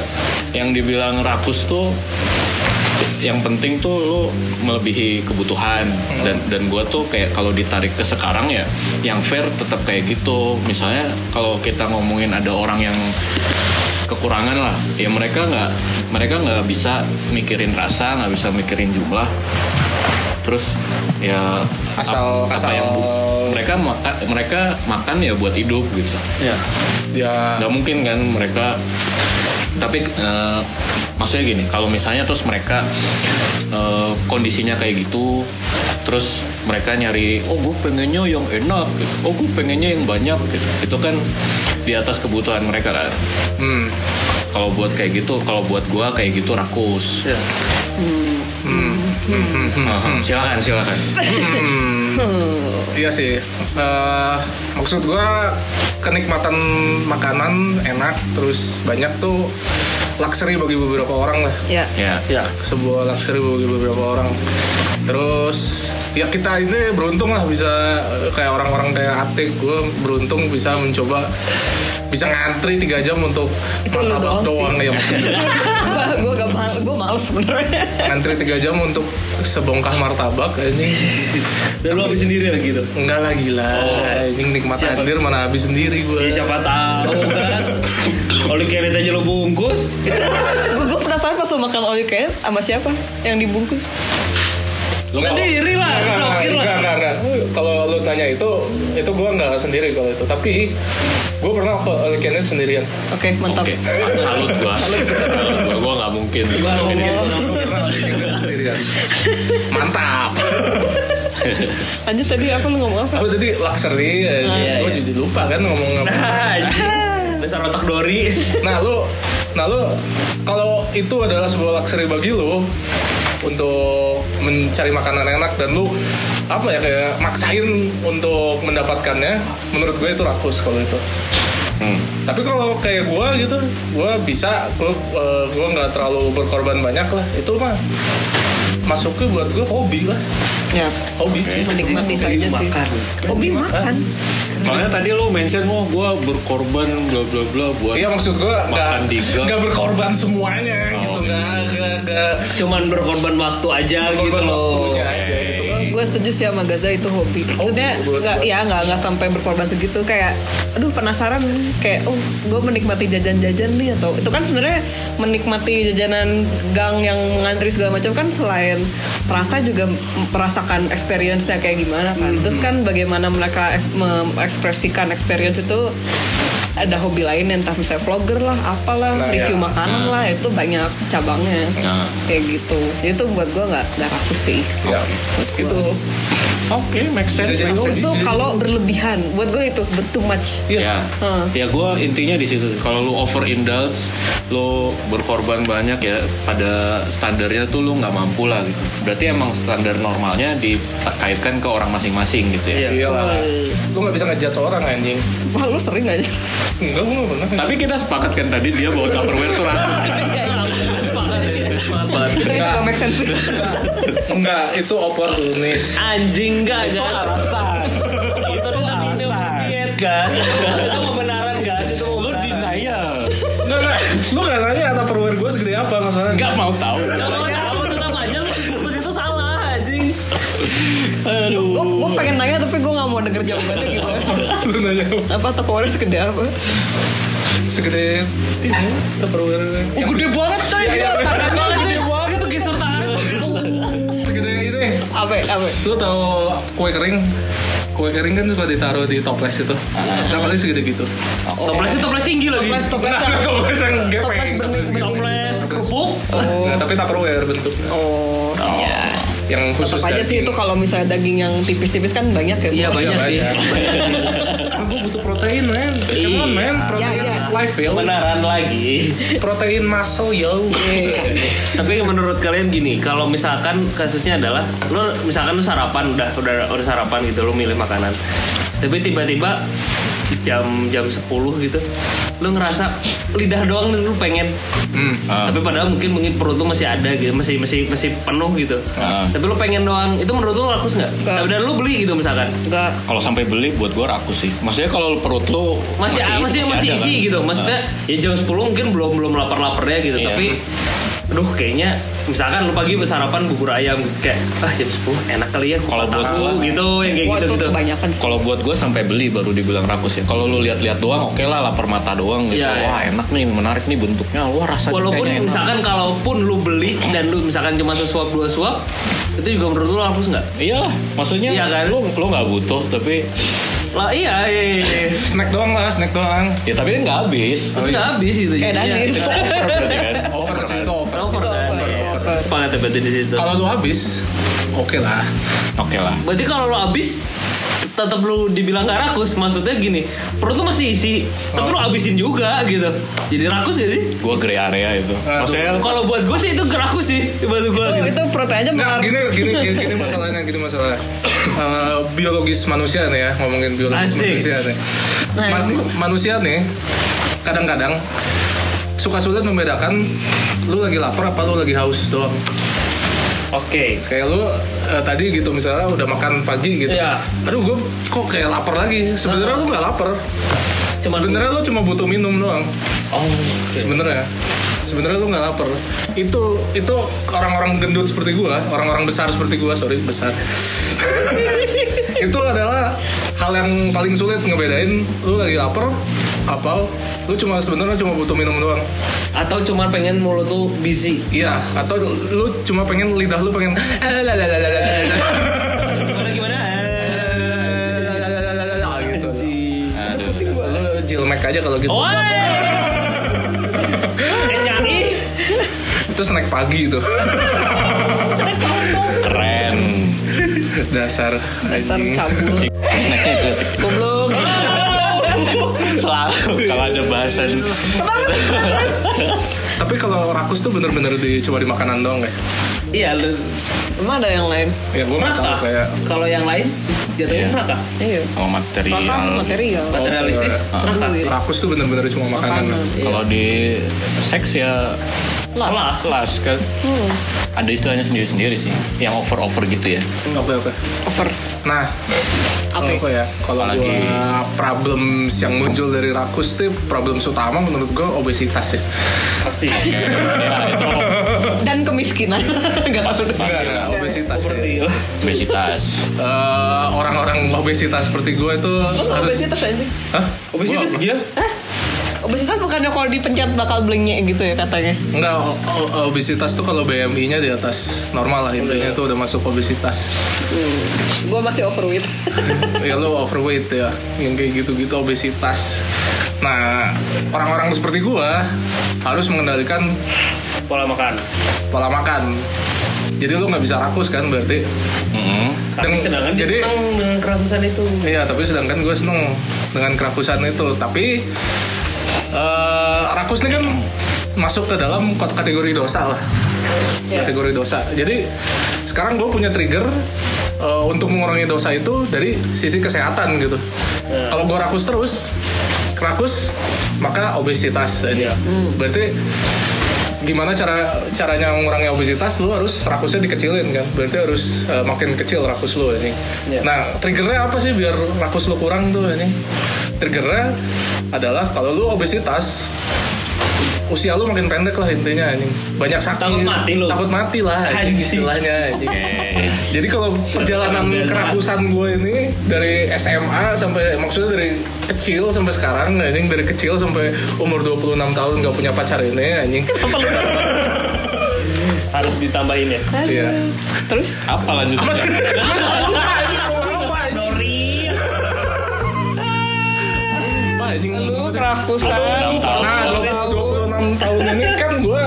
S3: Yang dibilang rakus tuh yang penting tuh lu melebihi kebutuhan
S1: Hmm.
S3: dan dan gue tuh kayak kalau ditarik ke sekarang ya yang fair tetap kayak gitu misalnya kalau kita ngomongin ada orang yang kekurangan lah ya mereka nggak mereka nggak bisa mikirin rasa nggak bisa mikirin jumlah terus ya ap-
S1: Asal-
S3: apa
S1: asal-
S3: yang bu- mereka makan mereka makan ya buat hidup gitu
S4: Iya.
S1: ya
S3: nggak mungkin kan mereka tapi eh, maksudnya gini kalau misalnya terus mereka eh, kondisinya kayak gitu terus mereka nyari oh gue pengennya yang enak gitu oh gue pengennya yang banyak gitu itu kan di atas kebutuhan mereka kan
S1: hmm,
S3: kalau buat kayak gitu kalau buat gua kayak gitu rakus
S4: Iya.
S3: Aha, silakan silakan <laughs>
S1: Iya sih. Eh, maksud gua kenikmatan makanan enak terus banyak tuh luxury bagi beberapa orang lah.
S2: Ya.
S3: ya
S4: Iya.
S1: Sebuah luxury bagi beberapa orang. Terus ya kita ini beruntung lah bisa eh, kayak orang-orang kayak Atik gua beruntung bisa mencoba bisa ngantri tiga jam untuk
S2: Itu lu doang sih.
S1: ya maksudnya.
S2: Iya. gue gak mal, gue males sebenarnya.
S1: ngantri tiga jam untuk sebongkah martabak ini
S4: Dan lu habis sendiri lagi gitu.
S1: Enggak lah gila. Ini nikmat
S4: Oh. Siapa?
S1: hadir mana habis sendiri gue.
S4: Ya siapa tahu kan. Oli kerit aja lu <laughs> bungkus.
S2: gue gue penasaran pas lo makan all you can eat sama siapa yang dibungkus.
S3: Lu kalau-
S4: Sendiri lah,
S1: Enggak,
S4: sendokir lah.
S1: enggak, enggak, enggak. Kalau lu tanya itu, itu gue enggak sendiri kalau itu. Tapi gue pernah ke Alkanet sendirian.
S2: Oke, mantap.
S3: Oke, sa- salut gua. Salut gua, gua nggak mungkin.
S1: Sendirian.
S4: <laughs>
S1: Mantap.
S2: Lanjut tadi apa lu ngomong apa?
S1: Apa tadi luxury? ya,
S4: iya,
S1: gue
S4: iya.
S1: jadi lupa kan ngomong apa.
S4: Anjing. Dasar otak Dori.
S1: Nah lu, nah lu kalau itu adalah sebuah luxury bagi lu untuk mencari makanan enak dan lu apa ya kayak maksain untuk mendapatkannya, menurut gue itu rakus kalau itu.
S3: Hmm.
S1: Tapi kalau kayak gue gitu, gue bisa, gue eh, gue nggak terlalu berkorban banyak lah. Itu mah masuknya buat gue hobi lah
S2: ya
S1: hobi sih
S2: menikmati saja sih
S4: makan.
S2: hobi
S1: Makan.
S2: makan
S5: Soalnya tadi lo mention wah gua berkorban bla bla bla buat
S1: Iya maksud gue
S5: Makan di gang.
S1: gak berkorban semuanya
S5: Oh,
S1: gitu nggak nggak nggak
S4: Cuman berkorban waktu aja gitu
S1: berkorban
S4: loh.
S1: waktunya aja gitu kan
S2: gue setuju sih sama Gaza itu hobi maksudnya
S1: Hobi buat
S2: nggak
S1: gua.
S2: ya nggak nggak sampai berkorban segitu kayak aduh penasaran kayak oh gue menikmati jajan-jajan nih atau itu kan sebenarnya menikmati jajanan gang yang ngantri segala macam kan selain rasa juga merasakan experience-nya kayak gimana kan terus kan bagaimana mereka eks- mengekspresikan experience itu ada hobi lain entah misalnya vlogger lah apalah
S1: Nah,
S2: review
S1: ya.
S2: makanan lah itu banyak cabangnya
S3: Nah.
S2: kayak gitu itu buat gue nggak nggak rakus sih
S1: ya
S2: gitu
S3: Oke, make sense.
S1: Bisa jadi
S3: make
S1: hobi.
S3: sense.
S2: itu kalau berlebihan buat gue itu but too much
S3: Ya,
S2: Hmm.
S3: ya gue intinya di situ. Kalau lu overindulge, lu berkorban banyak ya. Pada standarnya tuh lu nggak mampu lah. Gitu. Berarti emang standar normalnya dikaitkan ke orang masing-masing gitu ya.
S4: Iya.
S1: iya lah gue nggak bisa ngejat orang anjing
S2: wah lu sering gak sih
S1: enggak gue nggak pernah
S3: Tapi kita sepakat kan tadi dia bawa tupperware tuh ratus
S4: <laughs>
S3: gitu.
S4: Makan.
S2: itu juga make sense
S1: enggak itu oportunis
S4: Anjing gak Itu alasan. itu tuh alasan. Diet gas. itu kebenaran gas. Itu lu
S3: Denial.
S1: enggak enggak lu nggak nanya apa perwer gue segede apa masalahnya
S3: Nggak mau tahu.
S4: Kamu tetap aja lu itu salah anjing.
S2: gue gue pengen nanya tapi gue nggak mau denger jawabannya gimana
S1: lu nanya
S2: apa tupperware segede apa
S1: segede ini perwer
S3: Oh, gede banget coy.
S1: Iya, iya.
S4: Itu gesur tangan.
S1: segede ini
S2: apa ya, apa ya?
S1: lu tahu kue kering kue kering kan suka ditaruh di toples itu nah paling segede gitu
S4: Toplesnya toples tinggi lagi.
S2: toples toples
S1: Nah,
S2: yang-
S1: toples yang
S2: Toples
S1: gepeng
S2: bening,
S1: toples segede
S4: Toples kerupuk.
S1: Nah, tapi tupperware bentuknya
S2: oh ya
S1: yang khusus
S2: tetap aja sih
S1: daging.
S2: itu kalau misalnya daging yang tipis-tipis kan banyak ya
S4: Iya
S2: Bu?
S4: banyak sih.
S1: Karena gue butuh protein, man. Come on, man. Protein
S2: Iya, iya.
S1: is life, yo.
S4: Kebenaran lagi.
S1: Protein muscle, yo.
S4: Tapi menurut kalian gini, kalau misalkan kasusnya adalah lo misalkan lo sarapan udah udah udah sarapan gitu lo milih makanan. Tapi tiba-tiba jam jam 10 gitu lo ngerasa lidah doang dan lo pengen.
S1: Hmm.
S3: Ah.
S4: Tapi padahal mungkin mungkin perut lo masih ada gitu, masih masih masih penuh gitu.
S3: Ah.
S4: Tapi lo pengen doang. Itu menurut lo rakus nggak?
S2: Nggak.
S4: Dan lo beli gitu misalkan.
S2: enggak
S3: Kalau sampai beli buat gue rakus sih. Maksudnya kalau perut lu
S4: Masih masih masih,
S3: ada
S4: isi
S3: kan?
S4: gitu. Maksudnya ya jam 10 mungkin belum belum lapar-laparnya gitu,
S3: Iya.
S4: tapi Duh kayaknya misalkan lu pagi sarapan bubur ayam gitu kayak ah jam 10 enak kali ya
S3: Kalau
S4: kupat
S3: buat
S4: tahu
S3: gua-
S4: gitu yang kayak
S2: wah
S4: gitu
S2: itu
S4: gitu.
S2: kebanyakan sih
S3: Kalau buat gue sampai beli baru dibilang rakus ya. Kalau lu lihat-lihat doang, oke lah lapar mata doang gitu.
S4: Iya, iya.
S3: Wah enak nih, menarik nih bentuknya. Wah rasanya
S4: Walaupun
S3: kayaknya enak.
S4: misalkan kalaupun lu beli dan lu misalkan cuma sesuap dua suap itu juga menurut lu hapus nggak?
S3: Iya, maksudnya
S4: Iya kan?
S3: lu lu nggak butuh tapi
S4: Lah iya iya. iya.
S1: Snack doang lah, snack doang.
S3: ya tapi nggak
S4: <laughs>
S3: habis.
S4: Tapi nggak habis gitu.
S2: Kayak
S4: jadinya.
S2: Danis.
S4: Itu
S3: Over berarti kan? Over
S1: Over sih,
S3: kan?
S1: itu over.
S4: Over kan? Iya. Sepakat ya berarti di situ.
S1: Kalau lu habis, oke lah.
S3: Oke lah.
S4: Berarti kalau lo abis tetap lu dibilang gak rakus maksudnya gini perut tuh masih isi tapi lu abisin juga gitu jadi rakus gak sih
S3: Gue grey area itu.
S1: Aduh.
S3: Maksudnya
S4: kalau buat gue sih itu rakus sih buat
S2: <laughs>
S4: gue
S2: itu, itu
S4: gitu.
S2: protein aja
S1: Nah,
S2: benar
S1: gini, gini, gini, gini masalahnya, gini masalah. Eh, biologis manusia nih ya, ngomongin biologis
S4: Asik.
S1: manusia nih.
S2: Nah.
S1: Ma- manusia nih, kadang-kadang suka sulit membedakan lu lagi lapar apa lu lagi haus doang.
S4: oke
S1: kayak lu eh, tadi gitu misalnya udah makan pagi gitu
S4: Iya.
S1: aduh gue kok kayak lapar lagi sebenarnya lu nggak lapar
S4: Cuman-
S1: sebenarnya lu cuma butuh minum doang
S4: oh
S1: sebenarnya sebenarnya lu nggak lapar itu itu orang-orang gendut seperti gua orang-orang besar seperti gua sorry besar <laughs> itu adalah hal yang paling sulit ngebedain lu lagi lapar apa lu cuma sebenarnya cuma butuh minum doang
S4: atau cuma pengen mulut tuh busy
S1: iya atau lu cuma pengen lidah lu pengen <laughs> eh,
S4: gimana gimana
S1: gitu lu jilmek aja kalau gitu
S4: woi NCI
S1: itu snack pagi <laughs> itu
S3: keren.
S1: dasar
S2: dasar
S1: anjing.
S2: cabul
S3: Snacknya itu
S2: goblok
S3: selalu kalau ada bahasan
S1: tapi kalau rakus tuh bener-bener di, coba di makanan doang kayak
S4: iya lu
S2: emang ada yang lain
S1: ya gue nggak tahu
S4: Serata.
S1: kayak
S4: kalau yang lain jatuhnya
S3: Iya.
S4: serakah
S2: Iya.
S3: Kalau material.
S2: Serakah material.
S4: materialistis
S2: iya.
S3: Oh,
S4: serakah
S2: duit.
S1: rakus tuh bener-bener cuma makanan.
S2: Makanan. Iya.
S3: Kalau di seks ya
S2: Las.
S3: las, las kan
S2: Hmm,
S3: ada istilahnya sendiri-sendiri sih. Yang over-over gitu ya.
S1: Oke oke.
S2: over.
S1: Nah, kalau
S2: Apa? ya?
S1: gua ya, kalau
S3: Apalagi-
S1: gua problem yang muncul dari rakus tuh problem utama menurut gua obesitas ya.
S4: pasti
S3: ya itu
S2: Dan kemiskinan. Gak tahu deh.
S3: Pasti
S1: Nah,
S3: lah,
S1: obesitas ya.
S4: seperti
S3: obesitas.
S1: Eh, orang-orang obesitas seperti gue itu
S2: Lo nggak
S1: harus
S2: obesitas anjing.
S1: Hah?
S4: obesitas dia
S2: Obesitas bukannya kalau dipencet bakal blenyek gitu ya katanya.
S1: Enggak, o- o- obesitas tuh kalau BMI-nya di atas normal lah intinya itu udah masuk obesitas.
S2: Gue masih overweight. <laughs>
S1: ya lo overweight ya, yang kayak gitu-gitu obesitas. Nah, orang-orang seperti gua harus mengendalikan
S4: pola makan
S1: pola makan. Jadi lo nggak bisa rakus kan berarti.
S3: Mm-mm.
S4: tapi
S1: Deng-
S4: sedangkan dia
S1: jadi-
S4: senang dengan kerakusan itu
S1: Iya, tapi sedangkan gue seneng dengan kerakusan itu. Tapi eh rakus ini kan masuk ke dalam kot- kategori dosa lah.
S2: Iya.
S1: Kategori dosa. Jadi sekarang gue punya trigger eh, untuk mengurangi dosa itu dari sisi kesehatan gitu. Kalau gue rakus terus, rakus maka obesitas. aja.
S4: Iya.
S1: Berarti gimana cara caranya mengurangi obesitas lu harus rakusnya dikecilin kan berarti harus eh, makin kecil rakus lu ini
S4: Iya.
S1: nah triggernya apa sih biar rakus lu kurang tuh ini triggernya adalah kalau lu obesitas usia lu makin pendek lah intinya ini banyak sakit
S4: Takut mati lu.
S1: takut mati lah anjing,
S4: Anjing.
S1: istilahnya anjing.
S3: Eh,
S1: Jadi kalau perjalanan
S4: Benar, benar.
S1: kerakusan gue ini dari SMA sampai maksudnya dari kecil sampai sekarang anjing dari kecil sampai umur 26 tahun nggak punya pacar ini anjing.
S4: harus ditambahin ya
S1: Iya.
S2: Terus?
S5: Apa lanjutnya?
S4: sorry
S1: Pak, anjing
S2: Lu
S1: ngomong aja.
S2: kerakusan.
S3: tahun.
S1: Nah,
S4: Tahu.
S1: 26 tahun ini kan gue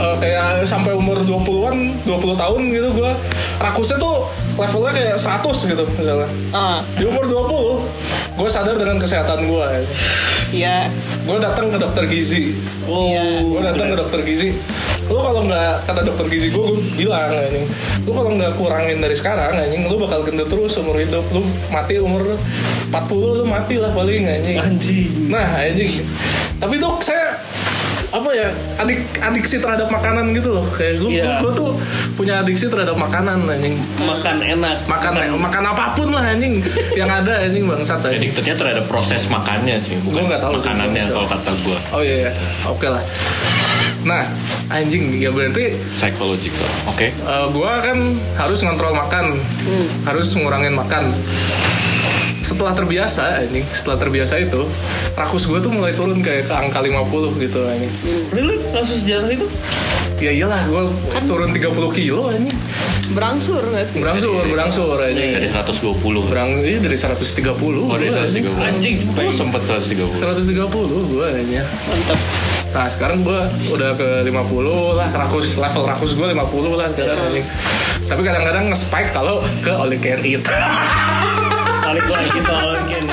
S1: eh, kayak sampai umur 20-an, 20 tahun gitu gue rakusnya tuh levelnya kayak 100 gitu misalnya.
S2: Ah,
S1: Di umur 20, gue sadar dengan kesehatan ya. gue.
S2: iya.
S1: Gue datang ke dokter gizi.
S2: Iya.
S1: Gue datang ke dokter gizi. Lu kalau nggak kata dokter gizi gue, gue bilang anjing. Lu kalau nggak kurangin dari sekarang anjing, lu bakal gendut terus umur hidup. Lu mati umur 40 lu mati lah paling anjing.
S4: anjing
S1: Nah, anjing. Tapi tuh saya apa ya adik adiksi terhadap makanan gitu loh kayak gue
S4: Iya.
S1: gue tuh punya adiksi terhadap makanan anjing
S4: makan enak
S1: makan makan apapun lah anjing yang ada anjing bangsat anjing
S3: Addictednya terhadap proses makannya sih, bukan
S1: Gua nggak tahu sih,
S3: makanannya
S1: gua nggak
S3: kalau kata gua
S1: oh iya iya. oke lah nah anjing ya berarti
S3: psychological. Oke.
S1: Eh, gua kan harus ngontrol makan,
S3: Hmm.
S1: harus ngurangin makan. Setelah terbiasa ini, setelah terbiasa itu, rakus gua tuh mulai turun kayak ke angka 50 gitu ini.
S4: really langsung sejalan itu
S1: Ya iyalah gua
S3: Kan
S1: turun 30 kilo ini.
S2: Berangsur gak
S3: Iya,
S2: sih?
S1: Berangsur, berangsur ini.
S3: Dari 120.
S1: Berang ini dari 130.
S3: Iya, Oh, dari
S1: gua, anjing.
S3: 130.
S4: Anjing,
S3: Gua sempet 130.
S1: 130 gua ini.
S4: mantap
S1: Nah sekarang gue udah ke 50 lah rakus level rakus gue 50 lah sekarang anjing. Tapi kadang-kadang nge-spike kalau ke all you can eat. <laughs>
S4: balik lagi soal Ken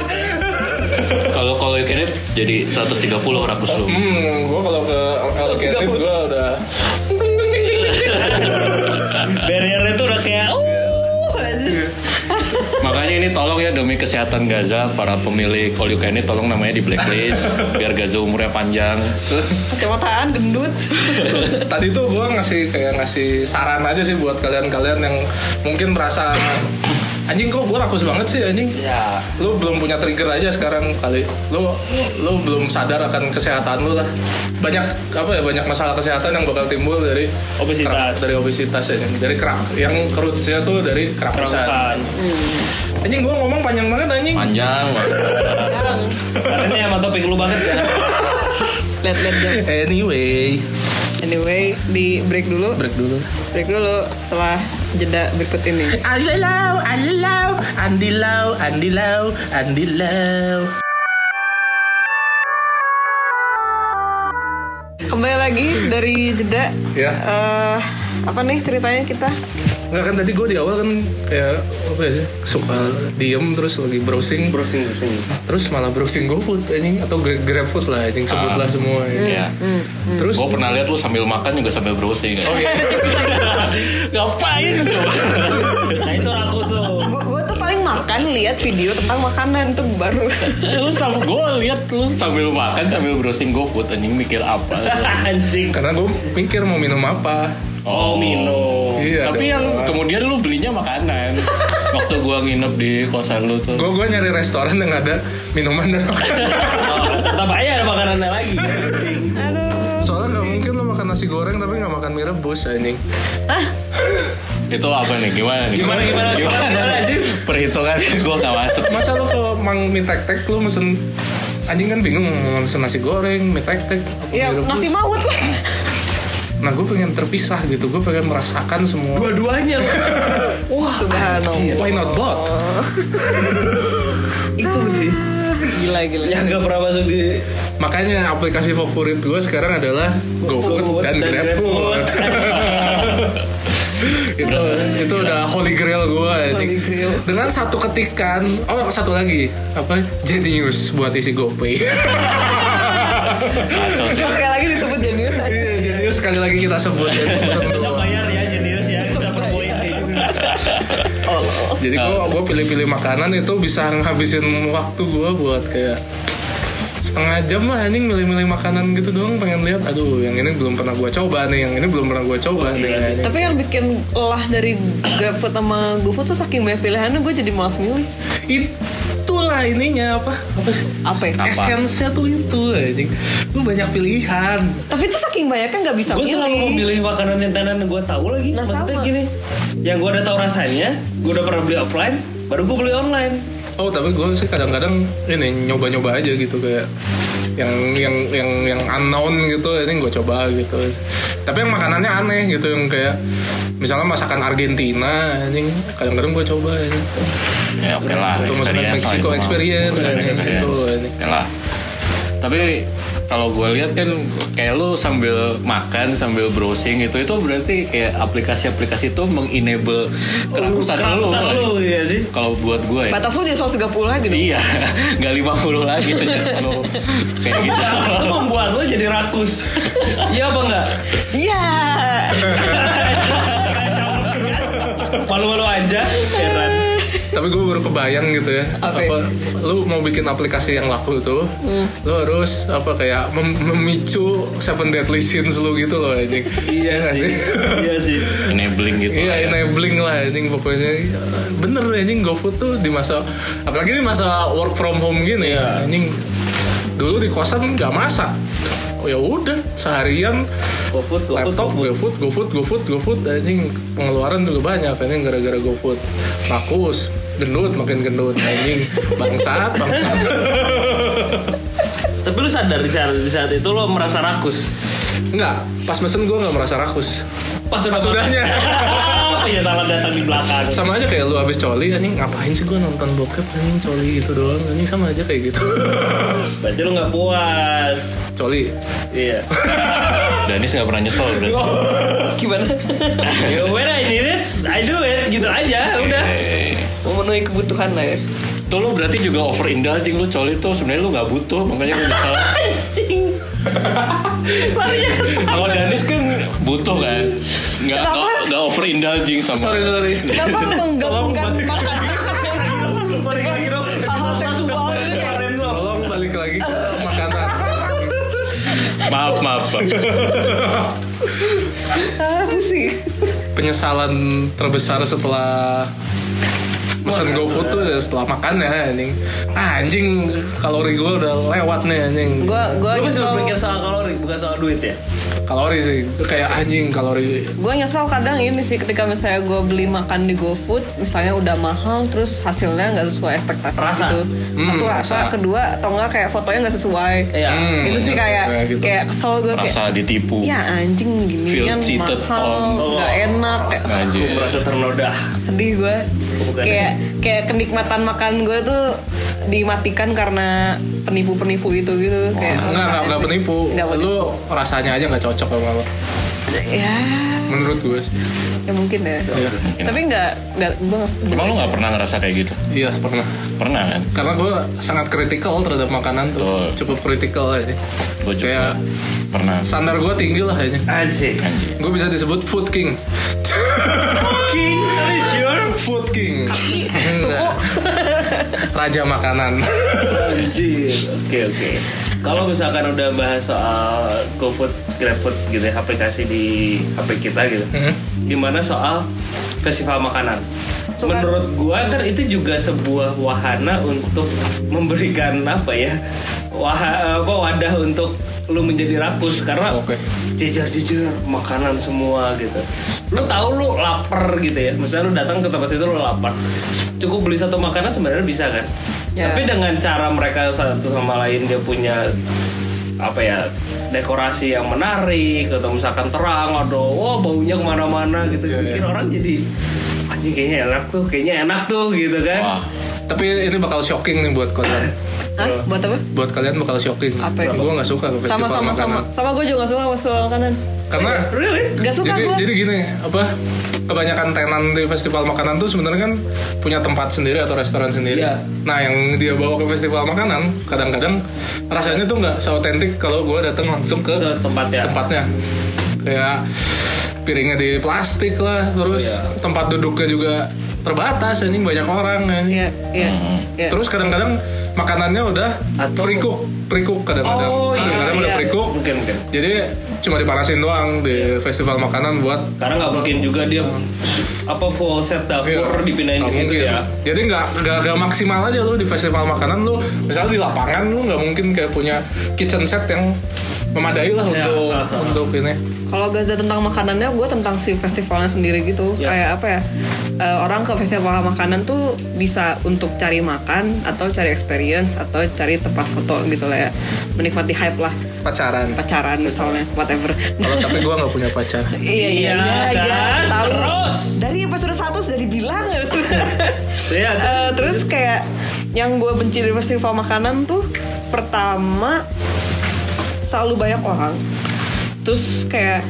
S3: Kalau kalau you can eat, jadi 130 rakus lu.
S1: Hmm, gue kalau ke all you can eat gue udah
S4: barriernya tuh udah kayak uh anjing.
S3: Makanya ini tolong ya demi kesehatan Gaza, para pemilik all you can eat tolong namanya di blacklist biar Gaza umurnya panjang.
S2: Kacamataan gendut.
S1: tadi tuh gue ngasih kayak ngasih saran aja sih buat kalian-kalian yang mungkin merasa anjing kok gue rakus banget sih anjing.
S4: ya
S1: Lu belum punya trigger aja sekarang kali. Lu lu belum sadar akan kesehatan lu lah. Banyak apa ya banyak masalah kesehatan yang bakal timbul dari
S4: Obesitas.
S1: dari obesitas ya, dari kerak yang kerutnya tuh dari kerakusan.
S4: kerakusan
S1: Anjing gue ngomong panjang banget anjing.
S3: Panjang.
S2: Sekarang.
S4: karena ini emang topik lu banget kan
S2: Lihat, lihat, lihat.
S1: Anyway,
S2: Anyway, di break dulu.
S1: break dulu.
S2: Break dulu setelah jeda berikut ini.
S1: Andilau, Andilau, Andilau, Andilau, Andilau.
S2: Kembali lagi dari jeda.
S1: Ya.
S2: Eh, apa nih ceritanya kita?
S1: Enggak kan tadi gue di awal kan kayak apa ya sih suka diem terus lagi browsing
S4: browsing browsing
S1: terus malah browsing GoFood anjing atau Gra- GrabFood lah anjing
S4: Ah.
S1: sebutlah semua ya.
S3: Ya.
S1: Terus
S3: Gue pernah lihat lu sambil makan juga sambil browsing. ya.
S1: Oh, iya.
S3: Ngapain coba?
S4: nah itu rakus tuh
S2: Gue tuh makan lihat video tentang makanan tuh <laughs> baru
S3: lu sama gue lihat lu sambil makan sambil browsing GoFood anjing mikir apa
S4: <laughs> anjing
S1: karena gue mikir mau minum apa
S4: oh minum
S1: iya
S3: tapi yang kemudian lu belinya <laughs> makanan waktu gua nginep di kosan lu tuh
S1: gue gue nyari restoran yang ada minuman dan
S4: <laughs>
S1: makanan
S4: Oh, tetap aja ada makanannya lagi
S1: soalnya nggak mungkin lo makan nasi goreng tapi nggak makan mie rebus anjing
S3: itu apa nih gimana nih
S4: gimana gimana gimana, gimana anjing
S3: perhitungan <laughs> gua nggak masuk
S1: masa lo ke mang mie tek tek lo mesen anjing kan bingung mau mesen nasi goreng mie tek tek
S2: ya nasi maut lah
S1: nah gue pengen terpisah gitu gue pengen merasakan semua
S4: dua-duanya lu
S2: wah subhanallah
S1: why not both
S4: itu sih
S2: gila gila
S4: yang gak pernah masuk di
S1: makanya aplikasi favorit gue sekarang adalah GoFood dan,
S4: dan
S1: GrabFood
S4: GrabFood.
S1: <laughs> itu itu udah Iya. holy grail gue anjing.
S2: Holy grail.
S1: dengan satu ketikan oh satu lagi apa Genius buat isi GoPay
S3: kacau sih
S2: sekali lagi disebut jenius aja
S1: <laughs> Iya, Genius sekali lagi kita sebut jadi Iya, season
S4: bisa
S1: dua.
S4: bayar ya jenius ya dapat poin kayak gitu
S1: Jadi gua gua pilih-pilih makanan itu bisa ngabisin waktu gua buat kayak setengah jam lah anjing milih-milih makanan gitu doang pengen lihat aduh yang ini belum pernah gua coba nih yang ini belum pernah gua coba nih anjing.
S2: tapi yang bikin lelah dari GrabFood sama GoFood tuh saking banyak pilihannya gue jadi malas milih
S1: itulah ininya apa apa sih
S2: apa ya?
S1: esensinya tuh itu anjing lu banyak pilihan
S2: tapi tuh saking banyaknya nggak bisa
S4: gue selalu mau
S2: milih
S4: milih makanan yang tenan gue tahu lagi
S2: Nah,
S4: maksudnya
S2: sama.
S4: gini yang gue udah tahu rasanya gue udah pernah beli offline baru gue beli online
S1: oh tapi gua sih kadang-kadang ini nyoba-nyoba aja gitu kayak yang yang yang yang unknown gitu ini gua coba gitu tapi yang makanannya aneh gitu yang kayak misalnya masakan Argentina anjing kadang-kadang gua coba anjing
S3: ya oke lah
S1: Itu masakan
S3: experience lah
S1: Mexico
S3: itu mah.
S1: experience,
S3: Masakan
S1: ya,
S3: experience.
S1: gitu, ini.
S3: Oke lah tapi kalau gue lihat kan kayak lu sambil makan sambil browsing gitu, itu itu berarti kayak aplikasi-aplikasi itu mengenable kerakusan Oh, lu
S4: Kerakusan lu iya
S1: <laughs>
S4: sih
S3: kalau buat gue ya
S2: batas lu jadi 130 lagi dong
S1: gitu.
S3: Iya, <laughs> nggak 50 lagi sejak lo kayak gitu.
S4: itu membuat lo jadi rakus iya apa enggak
S2: <laughs> iya
S4: malu-malu aja heran
S1: tapi gue baru kebayang gitu ya
S2: Apa?
S1: apa lu mau bikin aplikasi yang laku itu lu harus apa kayak mem- memicu seven deadly sins lu gitu loh anjing iya nggak sih
S4: iya sih
S3: Enabling gitu.
S1: Iya
S3: lah ya.
S1: enabling lah anjing pokoknya Bener anjing GoFood tuh di masa Apalagi di masa work from home gini ya Anjing dulu di kosan nggak masak Oh ya udah seharian
S4: GoFood, GoFood,
S1: laptop GoFood GoFood GoFood GoFood anjing pengeluaran juga banyak anjing gara-gara GoFood makus gendut makin gendut
S4: <laughs>
S1: anjing bangsat bangsat
S4: tapi lu sadar di saat, di saat itu lo merasa rakus
S1: nggak pas mesen gue nggak merasa rakus
S4: pas udah
S1: Pas udahnya.
S4: <laughs> punya tangan datang di belakang
S1: sama aja kayak lu abis coli anjing ngapain sih gue nonton bokep anjing coli itu doang anjing sama aja kayak gitu <laughs>
S4: berarti lo nggak puas
S1: coli
S4: iya
S3: Danis nggak pernah nyesel berarti.
S1: Oh.
S3: <laughs>
S2: gimana
S4: Ya, when I need it, I do it. Gitu aja, udah.
S3: Eh,
S2: memenuhi kebutuhan lah ya
S3: Tuh lo berarti juga over indulging lu coli tuh sebenarnya lu nggak butuh makanya lu nyesel.
S2: anjing larinya ke sana.
S3: Kalau Danis kan butuh kan, nggak
S2: Kenapa?
S3: nggak- nggak over indulging sama.
S1: sorry sorry
S2: kenapa lu menggabungkan
S4: Tolong,
S2: <laughs> makanan
S4: Balik lagi dong.
S2: hal seksual gitu ya
S1: tolong balik
S4: <laughs>
S1: lagi ke makanan
S3: Maaf maaf. Bang.
S1: <laughs>
S2: apa sih
S1: penyesalan terbesar setelah pesan GoFood tuh ya setelah makan ya anjing ah, anjing kalori gue udah lewat nih anjing
S2: gue gue
S4: Lu kan cuma
S2: nyesel
S4: mikir soal kalori, bukan soal duit ya?
S1: kalori sih kayak anjing kalori
S2: gue nyesel kadang ini sih ketika misalnya gue beli makan di GoFood misalnya udah mahal terus hasilnya nggak sesuai ekspektasi
S4: Rasa.
S2: gitu satu
S1: Hmm, rasa.
S2: rasa kedua atau enggak kayak fotonya nggak sesuai
S4: Iya.
S1: Hmm,
S2: itu sih
S1: nggak
S2: kayak
S1: sesuai gitu.
S2: kayak kesel gue kayak
S3: Rasa ditipu.
S2: ya anjing
S3: Feel
S2: ginian
S3: cheated on.
S2: mahal nggak enak kayak
S4: Gue
S3: Anjir.
S4: merasa ternoda.
S2: sedih gue
S4: Bukan.
S2: kayak kayak kenikmatan makan gue tuh dimatikan karena penipu-penipu itu gitu kayak
S1: Enggak, enggak, enggak penipu.
S2: Nggak penipu.
S1: Lu rasanya aja nggak cocok sama lo.
S2: ya
S1: Menurut gue sih.
S2: ya mungkin ya
S1: Iya.
S2: tapi nggak nggak gue
S3: Emang lu nggak pernah ngerasa kayak gitu?
S1: Iya, pernah.
S3: Pernah kan?
S1: Karena gue sangat kritikal terhadap makanan
S3: Betul.
S1: tuh. Cukup kritikal aja.
S3: Gue juga
S1: Kayak-
S3: pernah.
S1: Standar gue tinggi lah aja.
S4: Anjing.
S3: Anjir.
S1: Gue bisa disebut food king.
S4: King, are you sure?
S1: <laughs> Food King.
S2: Suku.
S1: Nah, Raja makanan.
S4: Anjir. Oke oke. Kalau misalkan udah bahas soal GoFood, GrabFood gitu ya, aplikasi di HP kita gitu. Gimana soal festival makanan?
S2: Suka-
S4: Menurut gua kan itu juga sebuah wahana untuk memberikan apa ya? Wah, apa wadah untuk lu menjadi rakus karena
S1: Oke.
S4: jejer-jejer makanan semua gitu. Lu tahu lu lapar gitu ya. Misalnya lu datang ke tempat itu lu lapar. Cukup beli satu makanan sebenarnya bisa kan.
S2: Ya.
S4: Tapi dengan cara mereka satu sama lain dia punya apa ya dekorasi yang menarik atau misalkan terang aduh wah baunya kemana-mana gitu
S1: Iya,
S4: bikin
S1: iya.
S4: orang jadi anjing kayaknya enak tuh kayaknya enak tuh gitu kan
S5: Wah.
S1: Tapi ini bakal shocking nih buat kalian.
S2: Hah? Buat apa?
S1: Buat kalian bakal shocking.
S2: Apa itu?
S1: Gue nggak suka ke festival
S2: Sama sama sama.
S1: makanan.
S2: Sama gue juga gak suka festival makanan.
S1: Karena
S4: really
S2: Gak suka
S1: jadi,
S2: gue.
S1: jadi gini apa kebanyakan tenan di festival makanan tuh sebenarnya kan punya tempat sendiri atau restoran sendiri.
S4: Iya.
S1: Nah yang dia bawa ke festival makanan kadang-kadang rasanya tuh nggak seautentik kalau gue datang langsung ke
S4: ke tempat ya
S1: tempatnya kayak piringnya di plastik lah terus
S4: Iya.
S1: tempat duduknya juga terbatas anjing banyak orang anjing.
S2: Iya, iya. iya.
S1: Hmm. terus kadang-kadang makanannya udah
S4: Atau-
S1: perikuk perikuk kadang-kadang
S4: Oh, iya,
S1: kadang-kadang udah
S2: iya.
S1: perikuk
S4: mungkin mungkin
S1: jadi cuma dipanasin doang di festival makanan buat
S4: karena nggak mungkin juga dia apa full set dapur
S1: Iya,
S4: dipindahin ke
S1: nggak
S4: situ
S1: mungkin.
S4: ya
S1: Jadi nggak nggak nggak maksimal aja lu di festival makanan lu, misalnya di lapangan lu nggak mungkin kayak punya kitchen set yang memadai lah
S4: Iya.
S1: untuk untuk ini.
S2: Kalau Gaza tentang makanannya, gue tentang si festivalnya sendiri gitu.
S1: Iya.
S4: Ya.
S2: Kayak apa ya? eh, orang ke festival makanan tuh bisa untuk cari makan atau cari experience atau cari tempat foto gitu lah ya. Menikmati hype lah,
S1: pacaran.
S2: pacaran misalnya, whatever.
S1: Kalau tapi gua nggak punya pacar.
S2: Iya iya
S4: Iya, gas,
S2: tahu.
S4: terus.
S2: Dari episode satu sudah dibilang ya, sudah.
S4: <laughs> Iya,
S2: Eh, terus kayak yang gue benci dari festival makanan tuh pertama selalu banyak orang terus kayak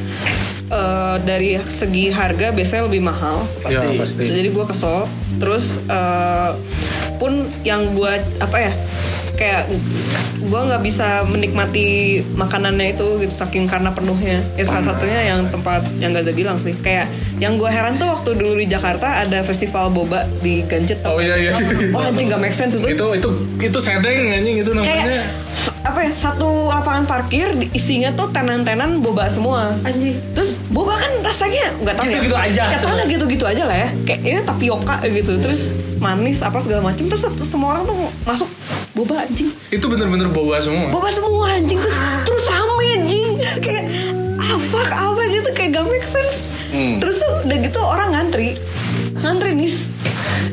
S2: eh, dari segi harga biasanya lebih mahal
S1: Ya pasti.
S2: jadi gue kesel terus eh, pun yang gue apa ya kayak gue nggak bisa menikmati makanannya itu gitu saking karena penuhnya ya salah
S1: Iya,
S2: satunya yang tempat yang Gaza bilang sih kayak yang gue heran tuh waktu dulu di Jakarta ada festival boba di Gancet
S1: Oh iya iya.
S2: Wah anjing gak make sense itu
S1: itu itu itu sedeng anjing itu namanya.
S2: Kayak s- apa ya satu lapangan parkir di- isinya tuh tenan-tenan boba semua. Anjing. Terus boba kan rasanya nggak tahu ya.
S4: Gitu-gitu aja
S2: Katanya
S4: sebenarnya.
S2: gitu-gitu aja lah ya. Kayak ya tapioka gitu. Terus manis apa segala macam. Terus satu- semua orang tuh masuk boba anjing.
S1: Itu bener-bener boba semua.
S2: Boba semua anjing terus terus rame anjing. Kayak apa apa gitu kayak gak make sense. Terus tuh udah gitu orang ngantri. Ngantri nis.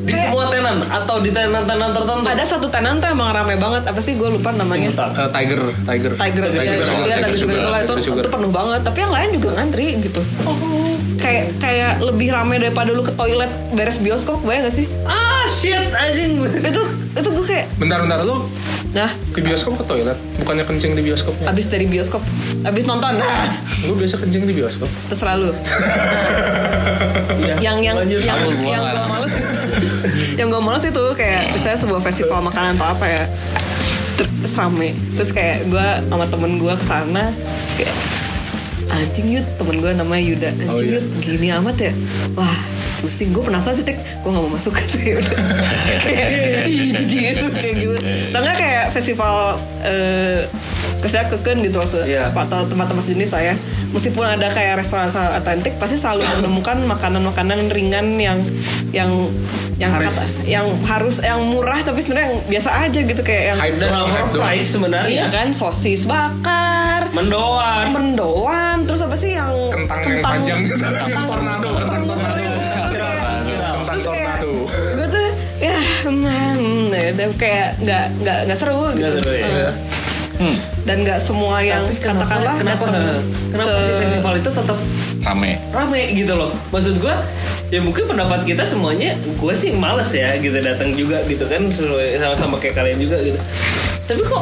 S4: di
S2: Kayak-
S4: semua tenan atau di tenan-tenan tertentu
S2: ada satu tenan tuh emang rame banget apa sih gue lupa namanya
S4: Bentar.
S1: Eh, tiger, tiger.
S2: Tiger Tiger
S1: Tiger Sugar,
S2: Sugar, Tiger
S1: Tiger
S2: Sugar
S1: Sugar,
S2: itu lah, itu,
S1: Tiger Sugar.
S2: itu penuh banget tapi yang lain juga ngantri gitu
S4: Oh.
S2: kayak kayak lebih rame daripada lu ke toilet beres bioskop bayang gak sih
S4: ah shit anjing
S2: itu itu gue kayak
S1: Bentar bentar lu
S2: nah
S1: di bioskop ke toilet, bukannya kencing di bioskopnya.
S2: abis dari bioskop abis nonton nah
S1: Lu biasa kencing di bioskop.
S2: terserah lu yang yang
S4: lanjut.
S2: yang
S5: Aku gua
S2: yang
S5: nggak.
S2: gue males yang gue males itu kayak misalnya sebuah festival makanan atau apa ya terus rame terus kayak gue sama temen gue kesana terus kayak anjing yud temen gue namanya Yuda
S5: Oh,
S2: anjing
S1: iya.
S2: Yud, gini amat ya wah pusing gue penasaran sih tik gue nggak mau masuk sih udah kayak "Ih, jijik itu," kayak gitu tengah kayak festival eh kesana keken gitu waktu
S4: Iya.
S2: apa atau tempat-tempat sejenis saya meskipun ada kayak restoran-restoran otentik pasti selalu menemukan makanan-makanan ringan yang yang yang
S1: Harus.
S2: kata- yang harus yang murah tapi sebenarnya yang biasa aja gitu kayak yang
S1: Hype
S4: dan
S1: doang, hype doang.
S4: overpriced
S2: iya
S4: sebenarnya
S2: kan sosis bakar
S4: mendoan
S2: mendoan terus apa sih yang
S1: Kentang yang panjang.
S2: kentang
S1: Tornado, kentang
S2: muter
S1: tornado.
S2: itu.
S1: Tentang
S2: Ya. Terus kayak-
S1: tornado.
S2: gue tuh ya hmm, ya udah kayak nggak nggak nggak seru gitu
S4: Nggak seru, ya.
S2: Eh,
S3: Hmm,
S2: dan nggak semua yang katakanlah
S4: kenapa
S2: datang
S4: kenapa
S2: ke-
S4: sih festival itu tetap
S5: Rame.
S4: rame gitu loh maksud gua ya mungkin pendapat kita semuanya gue sih males ya gitu datang juga gitu kan sesuai- sama-sama kayak kalian juga gitu tapi kok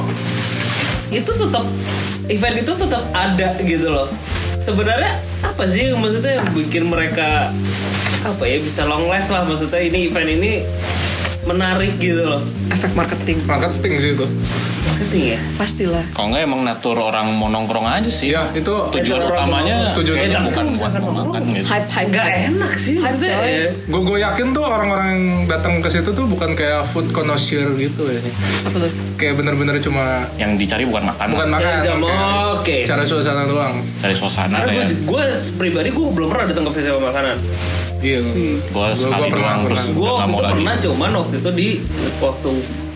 S4: itu tetap event itu tetap ada gitu loh sebenarnya apa sih maksudnya yang bikin mereka apa ya bisa long last lah maksudnya ini event ini menarik gitu loh
S2: efek marketing
S1: marketing sih itu
S4: marketing ya
S2: pastilah
S3: Kalau nggak emang natur orang mau nongkrong aja sih.
S1: Iya, itu
S3: Tujuan
S1: orang-
S3: utamanya
S1: tujuan
S3: kayaknya
S1: utama.
S3: bukan buat mau makan gitu.
S2: hype hype
S4: nggak
S2: hype.
S4: enak sih maksudnya
S2: coy.
S4: ya.
S1: Gue gue yakin tuh orang-orang yang datang ke situ tuh bukan kayak food connoisseur gitu ya.
S2: apa tuh
S1: Kayak bener-bener cuma
S3: Yang dicari bukan makan,
S1: bukan makan,
S4: Ya, sama-
S1: kayak
S4: oke.
S1: cara suasana doang.
S3: cari suasana ya.
S4: karena
S3: kayak.
S4: gue pribadi gue belum pernah datang ke festival makanan
S1: Iya.
S2: Hmm.
S3: Gue sekali
S1: pernah,
S3: doang terus
S1: pernah.
S4: gue
S3: udah nggak
S4: waktu
S3: mau
S4: itu
S3: lagi.
S4: pernah cuman waktu itu di waktu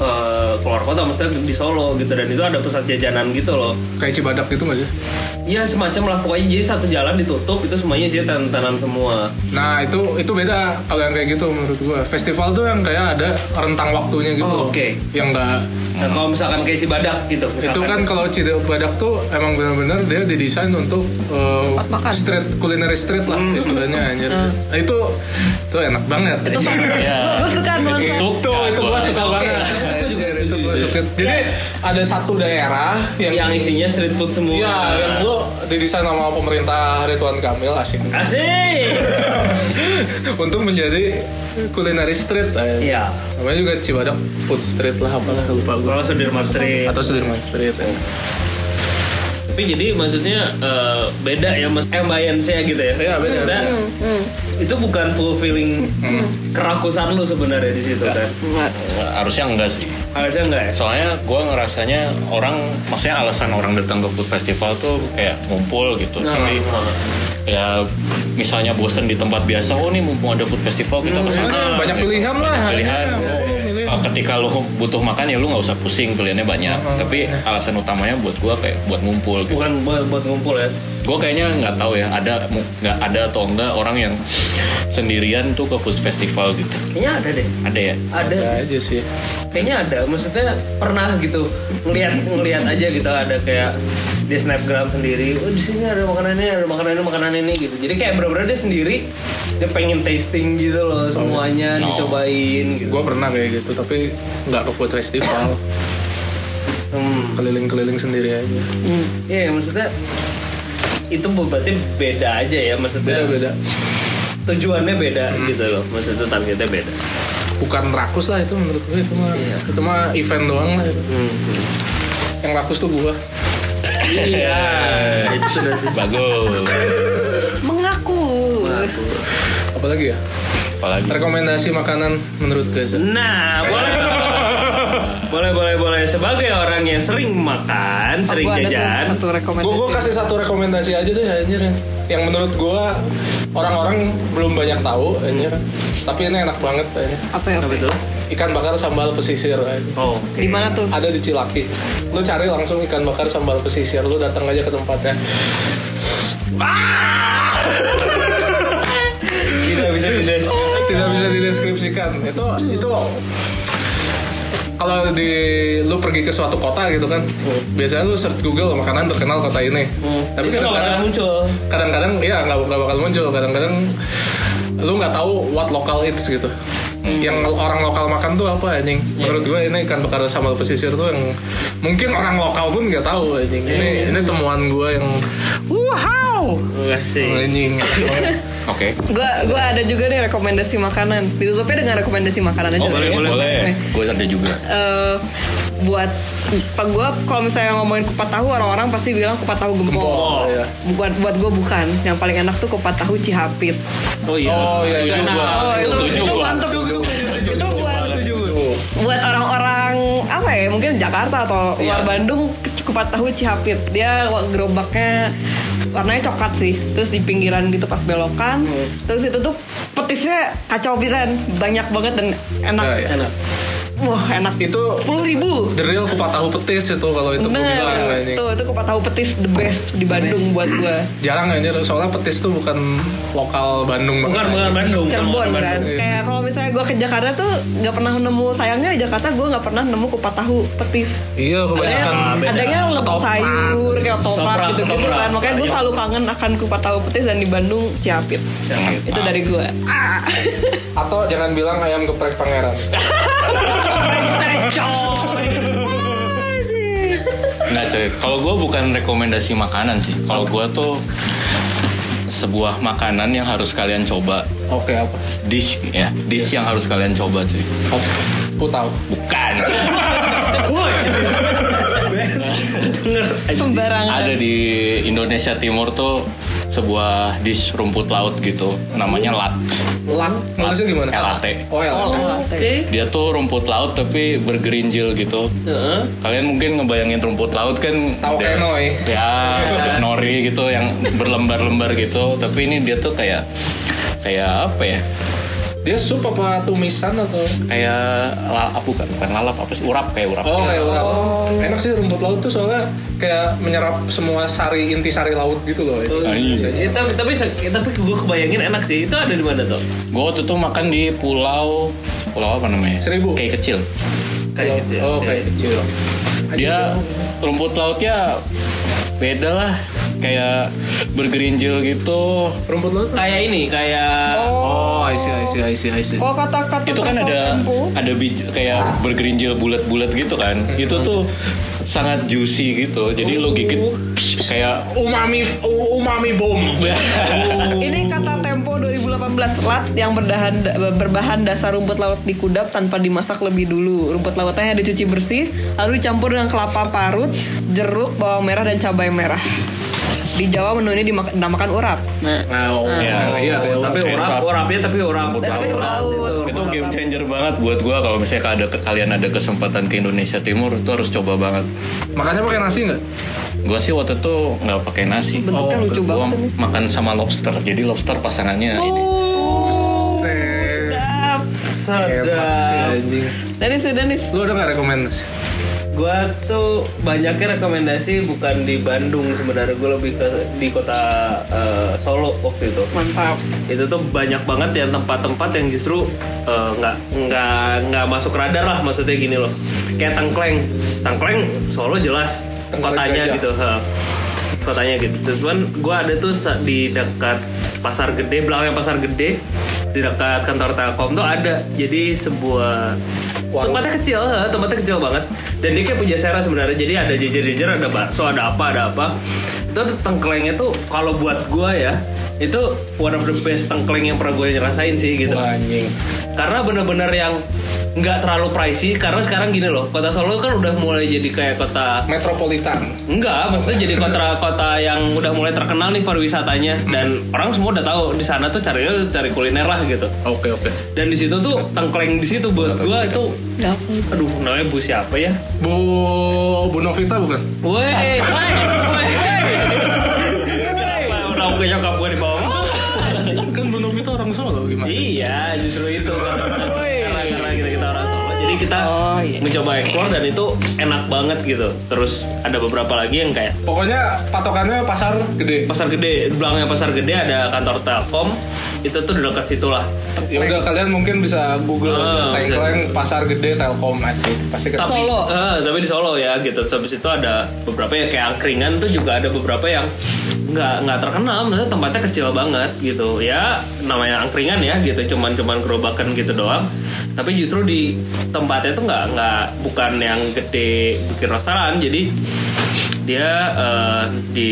S4: eh, keluar kota maksudnya di Solo gitu dan itu ada pusat jajanan gitu loh
S1: Kayak cibadak gitu nggak sih?
S4: ya semacam lah pokoknya jadi satu jalan ditutup itu semuanya sih tantanan semua
S1: Nah itu itu beda kalau yang kayak gitu menurut gua. Festival tuh yang kayak ada rentang waktunya gitu. loh.
S4: Oh, oke.
S1: Yang nggak
S4: nah kalau misalkan kayak Cibadak gitu
S1: itu
S4: misalkan.
S1: kan kalau Cibadak tuh emang benar-benar dia didesain untuk eh,
S2: Tempat makan. Hmm.
S1: street culinary street lah
S4: Hmm.
S1: istilahnya anjir. Nah, itu itu enak banget.
S2: itu gue suka nuansa
S1: Itu itu gua suka banget.
S4: Itu juga
S1: Iya,
S4: Iya.
S1: Itu gua suka. Jadi ada satu daerah yang
S4: yang isinya street food semua
S1: Iya, yang gua didesain sama pemerintah Ridwan Kamil
S4: <laughs>
S1: asik.
S4: asik
S1: untuk menjadi culinary street. eh.
S4: Iya.
S1: Namanya juga Cibadak Food Street lah apalah lupa gue.
S4: kalau Sudirman Street
S1: Atau Sudirman Street ya.
S4: tapi jadi maksudnya eh, beda ya mas ambience-nya gitu ya
S1: Iya, beda. Hmm.
S4: Maksudnya, itu bukan fulfilling kerakusan lu sebenarnya di situ kan
S2: Nggak.
S3: Harusnya enggak sih.
S4: harusnya enggak ya
S3: Soalnya gue ngerasanya orang, maksudnya alasan orang datang ke food festival tuh kayak ngumpul gitu.
S4: Nah,
S3: Tapi
S4: nah,
S3: ya misalnya bosen di tempat biasa, oh nih mumpung ada food festival kita kesana.
S1: Nah, banyak
S3: gitu.
S1: pilihan lah.
S3: Banyak pilihan.
S1: Ya, ya, ya, milih.
S3: Kalau ketika lu butuh makan ya lu nggak usah pusing pilihannya banyak.
S1: Nah,
S3: Tapi alasan utamanya buat gue kayak buat ngumpul. Gitu.
S4: bukan buat, buat ngumpul ya
S3: Gue kayaknya nggak tahu ya ada mu- nggak ada atau enggak orang yang sendirian tuh ke food festival gitu.
S4: kayaknya ada deh
S3: Ada ya?
S4: ada
S1: Ada
S4: sih.
S1: aja sih.
S4: kayaknya ada maksudnya pernah gitu ngelihat ngelihat aja gitu ada kayak di snapgram sendiri oh di sini ada makanan ini ada makanan ini makanan ini gitu jadi kayak bener-bener dia sendiri dia pengen tasting gitu loh semuanya
S3: No.
S4: dicobain gitu
S1: Gue pernah kayak gitu, tapi nggak ke food festival.
S4: hmm.
S1: Keliling-keliling sendiri aja.
S2: Hmm.
S4: Iya maksudnya itu berarti beda aja ya maksudnya
S1: Beda-beda.
S4: tujuannya beda gitu loh maksudnya targetnya beda.
S1: Bukan rakus lah itu menurut gue itu mah. Itu mah event doang lah. itu. Yang rakus tuh gue.
S4: Iya itu sudah
S3: Bagus.
S2: mengaku
S1: Apalagi ya?
S3: Apalagi
S1: Rekomendasi makanan menurut Gaza.
S4: Nah boleh boleh boleh boleh sebagai orang yang sering makan sering
S2: Gua ada tuh
S4: jajan
S2: satu rekomendasi
S1: Gue kasih satu rekomendasi aja deh anjir ya. Yang menurut gue orang-orang belum banyak tahu anjir. Tapi ini enak banget anjir.
S2: apa ya apa ya?
S4: betul.
S1: Ikan bakar sambal pesisir anjir.
S4: Oh,
S2: di mana tuh
S1: Ada di Cilaki. Lu cari langsung ikan bakar sambal pesisir, lu datang aja ke tempatnya.
S4: tidak bisa tidak.
S1: Tidak bisa dideskripsikan. Itu itu kalau di lu pergi ke suatu kota gitu kan, biasanya lu search Google makanan terkenal kota ini. Tapi
S4: Hmm. Itu nggak pernah
S1: kadang-kadang
S4: muncul.
S1: kadang-kadang ya nggak nggak bakal muncul kadang-kadang lu nggak tahu what local eats gitu yang orang lokal makan tuh apa anjing menurut gue ini ikan bakar sambal pesisir tuh yang mungkin orang lokal pun nggak tahu anjing ini ini temuan gue yang wow
S4: Terima kasih.
S1: anjing
S3: Oke.
S2: Gua, gua ada juga nih rekomendasi makanan. Ditutupnya dengan rekomendasi makanan aja.
S3: Oh boleh
S2: ya.
S3: boleh.
S2: Oke.
S3: Gue ada juga.
S2: Eh, buat pak gue kalau misalnya ngomongin kupat tahu orang-orang pasti bilang kupat tahu gempol.
S1: oh
S3: iya.
S1: ya
S2: Buat buat gue bukan. Yang paling enak tuh kupat tahu cihapit.
S4: Oh iya.
S1: oh ya itu
S4: Nah,
S2: Oh, itu,
S3: setuju
S2: itu
S3: gua.
S2: mantep itu. Itu buat buat orang-orang apa ya mungkin Jakarta atau
S3: Iya.
S2: luar Bandung kupat tahu cihapit dia wa- gerobaknya warnanya coklat sih terus di pinggiran gitu pas belokan
S3: Hmm.
S2: terus itu tuh petisnya kacau pisan banyak banget dan enak
S3: Iya,
S1: Ya, ya.
S4: enak.
S2: wah enak
S1: itu
S2: sepuluh ribu
S1: the real kupat tahu petis itu kalau itu gua bilang
S2: Bener,
S1: anjing
S2: tuh itu kupat tahu petis the best di Bandung buat gue
S1: jarang anjir soalnya petis tuh bukan lokal Bandung
S4: Bukan
S1: banget,
S4: bukan
S1: anjing.
S4: Bandung.
S2: Cirebon
S4: Bukan
S2: kan
S4: Bandung.
S1: iya.
S2: kayak kalau misalnya gue ke Jakarta tuh nggak pernah nemu sayangnya di Jakarta gue nggak pernah nemu kupat tahu petis
S1: iya
S2: Adanya,
S1: kebanyakan
S4: beda.
S2: adanya
S1: Ketoprak.
S2: lepet sayur, kayak toprak
S4: Ketoprak,
S2: gitu-gitu
S4: ketoprak.
S2: kan. Makanya gue selalu kangen akan kupat tahu petis dan di Bandung Ciapit. Itu dari gue. Ah.
S1: Atau jangan bilang ayam geprek pangeran.
S3: Nggak coy, kalau gue bukan rekomendasi makanan sih. Kalau gue tuh sebuah makanan yang harus kalian coba
S1: Oke apa?
S3: dish ya dish yang harus kalian coba cuy
S1: Apa? Aku tahu.
S3: <laughs> bukan
S2: <laughs> sembarangan
S3: ada di Indonesia Timur tuh sebuah dish rumput laut gitu namanya lat
S1: Lan. Maksudnya gimana?
S3: LAT.
S1: Oh LAT.
S2: Oh,
S4: Oke.
S3: dia tuh rumput laut tapi bergerinjil gitu
S4: Heeh.
S3: kalian mungkin ngebayangin rumput laut kan
S1: Tahu
S3: ada-
S1: kenoi.
S3: ya nori gitu yang berlembar-lembar gitu tapi ini dia tuh kayak kayak apa ya
S1: Dia sup apa tumisan atau?
S3: kayak la- ah, bukan bukan lalap apa sih urap kayak urap gitu.
S1: Oh, kayak laut. Enak sih rumput laut tuh soalnya kayak menyerap semua sari inti sari laut gitu loh.
S4: Oh,
S3: Anjing.
S4: Ya, tapi tapi tapi gue kebayangin enak sih. Itu ada di mana tuh?
S3: gue waktu itu makan di pulau pulau apa namanya
S1: Seribu.
S3: kayak kecil
S4: Kayak gitu. ya.
S1: Oh, kayak kecil.
S3: dia rumput lautnya beda lah kayak bergerinjil gitu
S1: Rumput laut.
S4: Kayak ini, kayak
S1: Oh, I see, I see, I see, I see.
S2: Kalau kata-kata
S3: itu kan ada ada bij- kayak bergerinjil bulat-bulat gitu kan itu tuh sangat juicy gitu jadi lo gigit
S2: Oh.
S3: kayak
S1: Umami, umami bom.
S2: Ini kata Tempo 2018 lat yang berdahan berbahan dasar rumput laut dikudap tanpa dimasak lebih dulu. Rumput lautnya dicuci bersih, lalu dicampur dengan kelapa parut, jeruk, bawang merah dan cabai merah. Di Jawa menu ini dimak- dinamakan urap. Nah,
S1: Wow.
S3: Ya.
S1: Iya, kayak
S4: tapi
S3: Kayak
S4: orang
S3: urap.
S4: orangnya tapi orang
S2: tapi rumput laut.
S3: itu game changer banget buat gua kalau misalnya ada kalian ada kesempatan ke Indonesia Timur itu harus coba banget
S1: Makannya pakai nasi nggak?
S3: gua sih waktu itu nggak pakai nasi Oh,
S2: Bentuknya lucu
S3: gua
S2: banget ini. Oh.
S3: makan sama lobster jadi lobster pasangannya ini
S2: Sedap.
S1: Hebat sih
S4: Sedap.
S1: anjing.
S2: Danis, Danis.
S1: Lu ada nggak rekomendasi?
S4: Gua tuh banyaknya rekomendasi bukan di Bandung sebenarnya gue lebih ke di kota eh, Solo waktu itu.
S2: Mantap.
S4: itu tuh banyak banget ya tempat-tempat yang justru eh, nggak nggak nggak masuk radar lah maksudnya gini loh kayak Tangkleng Tangkleng Solo jelas
S1: Tengkleng
S4: kotanya
S1: aja.
S4: gitu ha. kotanya gitu terus cuman gue ada tuh sa- di dekat pasar gede belakangnya pasar gede di dekat kantor Telkom tuh ada jadi sebuah
S1: Warung.
S4: tempatnya kecil ha, tempatnya kecil banget dan dia kayak punya sera sebenarnya jadi ada jejer-jejer ada bakso ada apa ada apa itu tengklengnya tuh kalau buat gua ya itu one of the best tengkleng yang pernah gue rasain sih gitu
S1: Wah, anjing.
S4: karena bener-bener yang nggak terlalu pricey karena sekarang gini loh kota Solo kan udah mulai jadi kayak kota
S1: Metropolitan.
S4: Enggak, maksudnya jadi kota-kota yang udah mulai terkenal nih pariwisatanya dan orang semua udah tahu di sana tuh carinya cari kuliner lah gitu.
S1: Oke, oke.
S4: Dan di situ tuh tengkleng di situ buat gua itu aduh namanya bu siapa ya?
S1: Bu Bu Novita bukan?
S4: Woi, woi, woi. Kenapa udah ke nyokap gue di bawah?
S1: Kan Bu Novita orang Solo gimana?
S4: Iya, justru itu. Karena karena kita, kita orang Solo, jadi kita
S2: Oh, iya.
S4: mencoba ekspor dan itu enak banget gitu. Terus ada beberapa lagi yang kayak
S1: Pokoknya patokannya pasar gede.
S4: pasar gede, di belakangnya pasar gede ada kantor Telkom. Itu tuh di dekat situ lah.
S1: Ya udah kalian mungkin bisa Google
S4: Ah,
S1: aja tagline pasar gede Telkom masih pasti ketemu.
S4: Tapi,
S2: Solo.
S4: eh, tapi di Solo ya gitu. Terus Habis itu ada beberapa ya kayak angkringan tuh juga ada beberapa yang nggak nggak terkenal, maksudnya tempatnya kecil banget gitu. Ya namanya angkringan ya gitu, cuman cuman gerobakan gitu doang. Tapi justru di tempatnya tuh nggak nggak bukan yang gede bikin restoran, jadi dia eh, di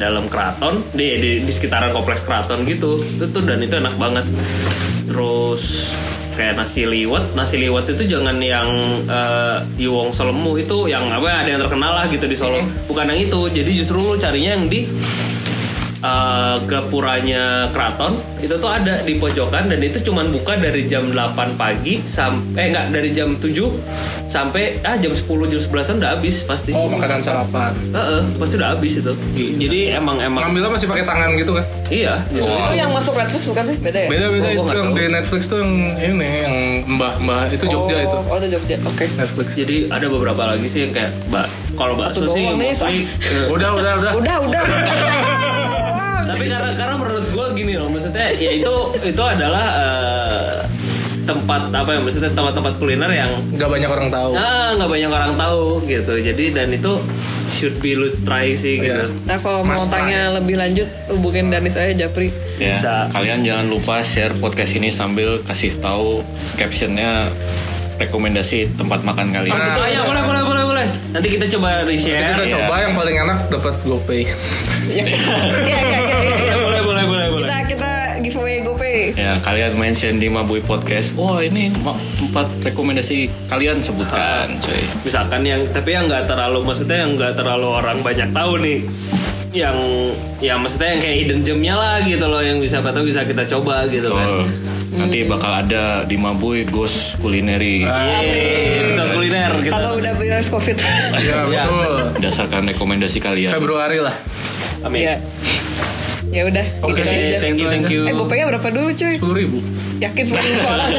S4: dalam keraton, di, di di sekitaran kompleks keraton gitu. Itu tuh dan itu enak banget. Terus kayak nasi liwet nasi liwet itu jangan yang eh, di Wong Solemu itu yang apa ada yang terkenal lah gitu di Solo bukan yang itu jadi justru lu carinya yang di eh, gapuranya keraton itu tuh ada di pojokan dan itu cuman buka dari jam 8 pagi sampai eh enggak dari jam 7 sampai ah jam 10 jam 11 udah habis pasti
S1: Oh makanan sarapan.
S4: Heeh, pasti udah habis itu
S2: Iya.
S4: jadi emang emang
S1: Ngambilnya masih pakai tangan gitu kan?
S4: iya gitu.
S2: Itu yang masuk Netflix bukan sih? Beda ya?
S1: Beda-beda
S4: Gua- gua
S1: itu
S4: nggak
S1: yang
S4: tahu.
S1: di Netflix tuh yang ini yang mbah-mbah itu Jogja
S2: oh,
S1: itu.
S2: Oh, itu Jogja. Oke.
S1: Netflix.
S4: jadi ada beberapa lagi sih yang kayak ba- kalau bakso
S2: Satu
S4: sih
S2: doang nih,
S4: mostly, eh,
S1: Udah, udah, udah.
S2: Udah, udah.
S4: tapi karena karena menurut gue gini loh maksudnya ya itu itu adalah eh, tempat apa ya maksudnya tempat-tempat kuliner yang
S1: Gak banyak orang tahu.
S4: ah, nggak banyak orang tahu gitu jadi dan itu should be lu try sih gitu
S1: Iya.
S2: Nah, kalau mau
S1: Mas
S2: tanya lebih lanjut, hubungin Danis aja Japri.
S3: ya
S4: Bisa.
S3: kalian jangan lupa share podcast ini sambil kasih tahu captionnya rekomendasi tempat makan kalian
S1: Ah.
S4: oh iya boleh boleh boleh boleh nanti kita coba
S1: Jadi
S4: reshare
S1: kita
S3: Iya.
S1: coba yang paling enak dapat GoPay.
S2: Iya, iya, iya, iya.
S4: boleh boleh boleh boleh
S2: Kita kita giveaway GoPay.
S3: ya ya kalian mention di Mabui Podcast wah ini ma- empat rekomendasi kalian
S5: Ah.
S3: sebutkan cuy
S4: misalkan yang tapi yang nggak terlalu maksudnya yang nggak terlalu orang banyak tahu nih yang ya maksudnya yang kayak hidden gemnya lah gitu loh yang bisa atau bisa kita coba gitu
S3: Betul.
S1: Oh.
S4: kan
S5: Hmm.
S3: nanti bakal ada di Mabui Ghost Culinary
S5: Ah.
S4: Yeay, bisa Iya, kuliner gitu
S2: Kalau udah beres covid.
S1: Iya betul.
S3: berdasarkan rekomendasi kalian
S1: Februari lah.
S4: amin
S2: Iya. Ya udah.
S1: Oke,
S2: gitu aja.
S4: thank you thank you
S2: Eh gue berapa dulu cuy?
S1: Sepuluh ribu.
S2: Yakin sepuluh ribu orang?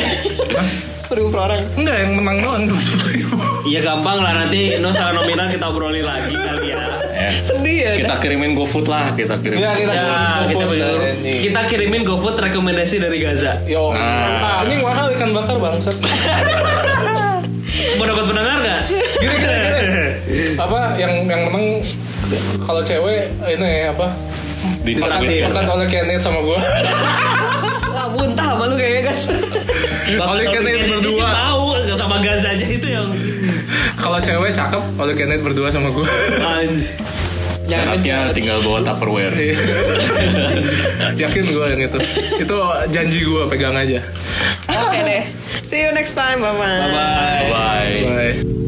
S2: Sepuluh ribu per orang.
S1: Enggak yang menang doang cuma sepuluh ribu.
S4: Iya gampang lah nanti no salah nominal kita obrolin lagi kali ya.
S3: Ya.
S2: Sedih ya.
S3: kita kirimin GoFood lah kita kirimin
S5: Iya, kita-
S4: Ya, kita,
S1: GoFood
S4: bagi-
S1: kali ini.
S4: kita kirimin GoFood rekomendasi dari Gaza.
S1: Yo,
S3: Nah.
S1: anjing mahal ikan bakar bangsat.
S4: Mau dapat pendengar nggak?
S1: Gini, gini, gini. Apa yang yang menang kalau cewek ini apa?
S3: di Iya.
S1: Pesan oleh Kenneth sama gue.
S2: Wah muntah sama lu kayaknya guys.
S1: Oleh Kenneth berdua.
S4: Tahu sama Gaza aja itu yang
S1: Kalau cewek cakep, oleh Kenneth berdua sama gue.
S4: anjir.
S3: syaratnya tinggal bawa
S5: Iya.
S3: Tupperware
S1: Yakin gue yang itu. Itu janji gue pegang aja.
S2: <laughs> Oke deh. See you next time, bye
S4: Bye.
S5: Iya.
S3: bye
S1: Bye.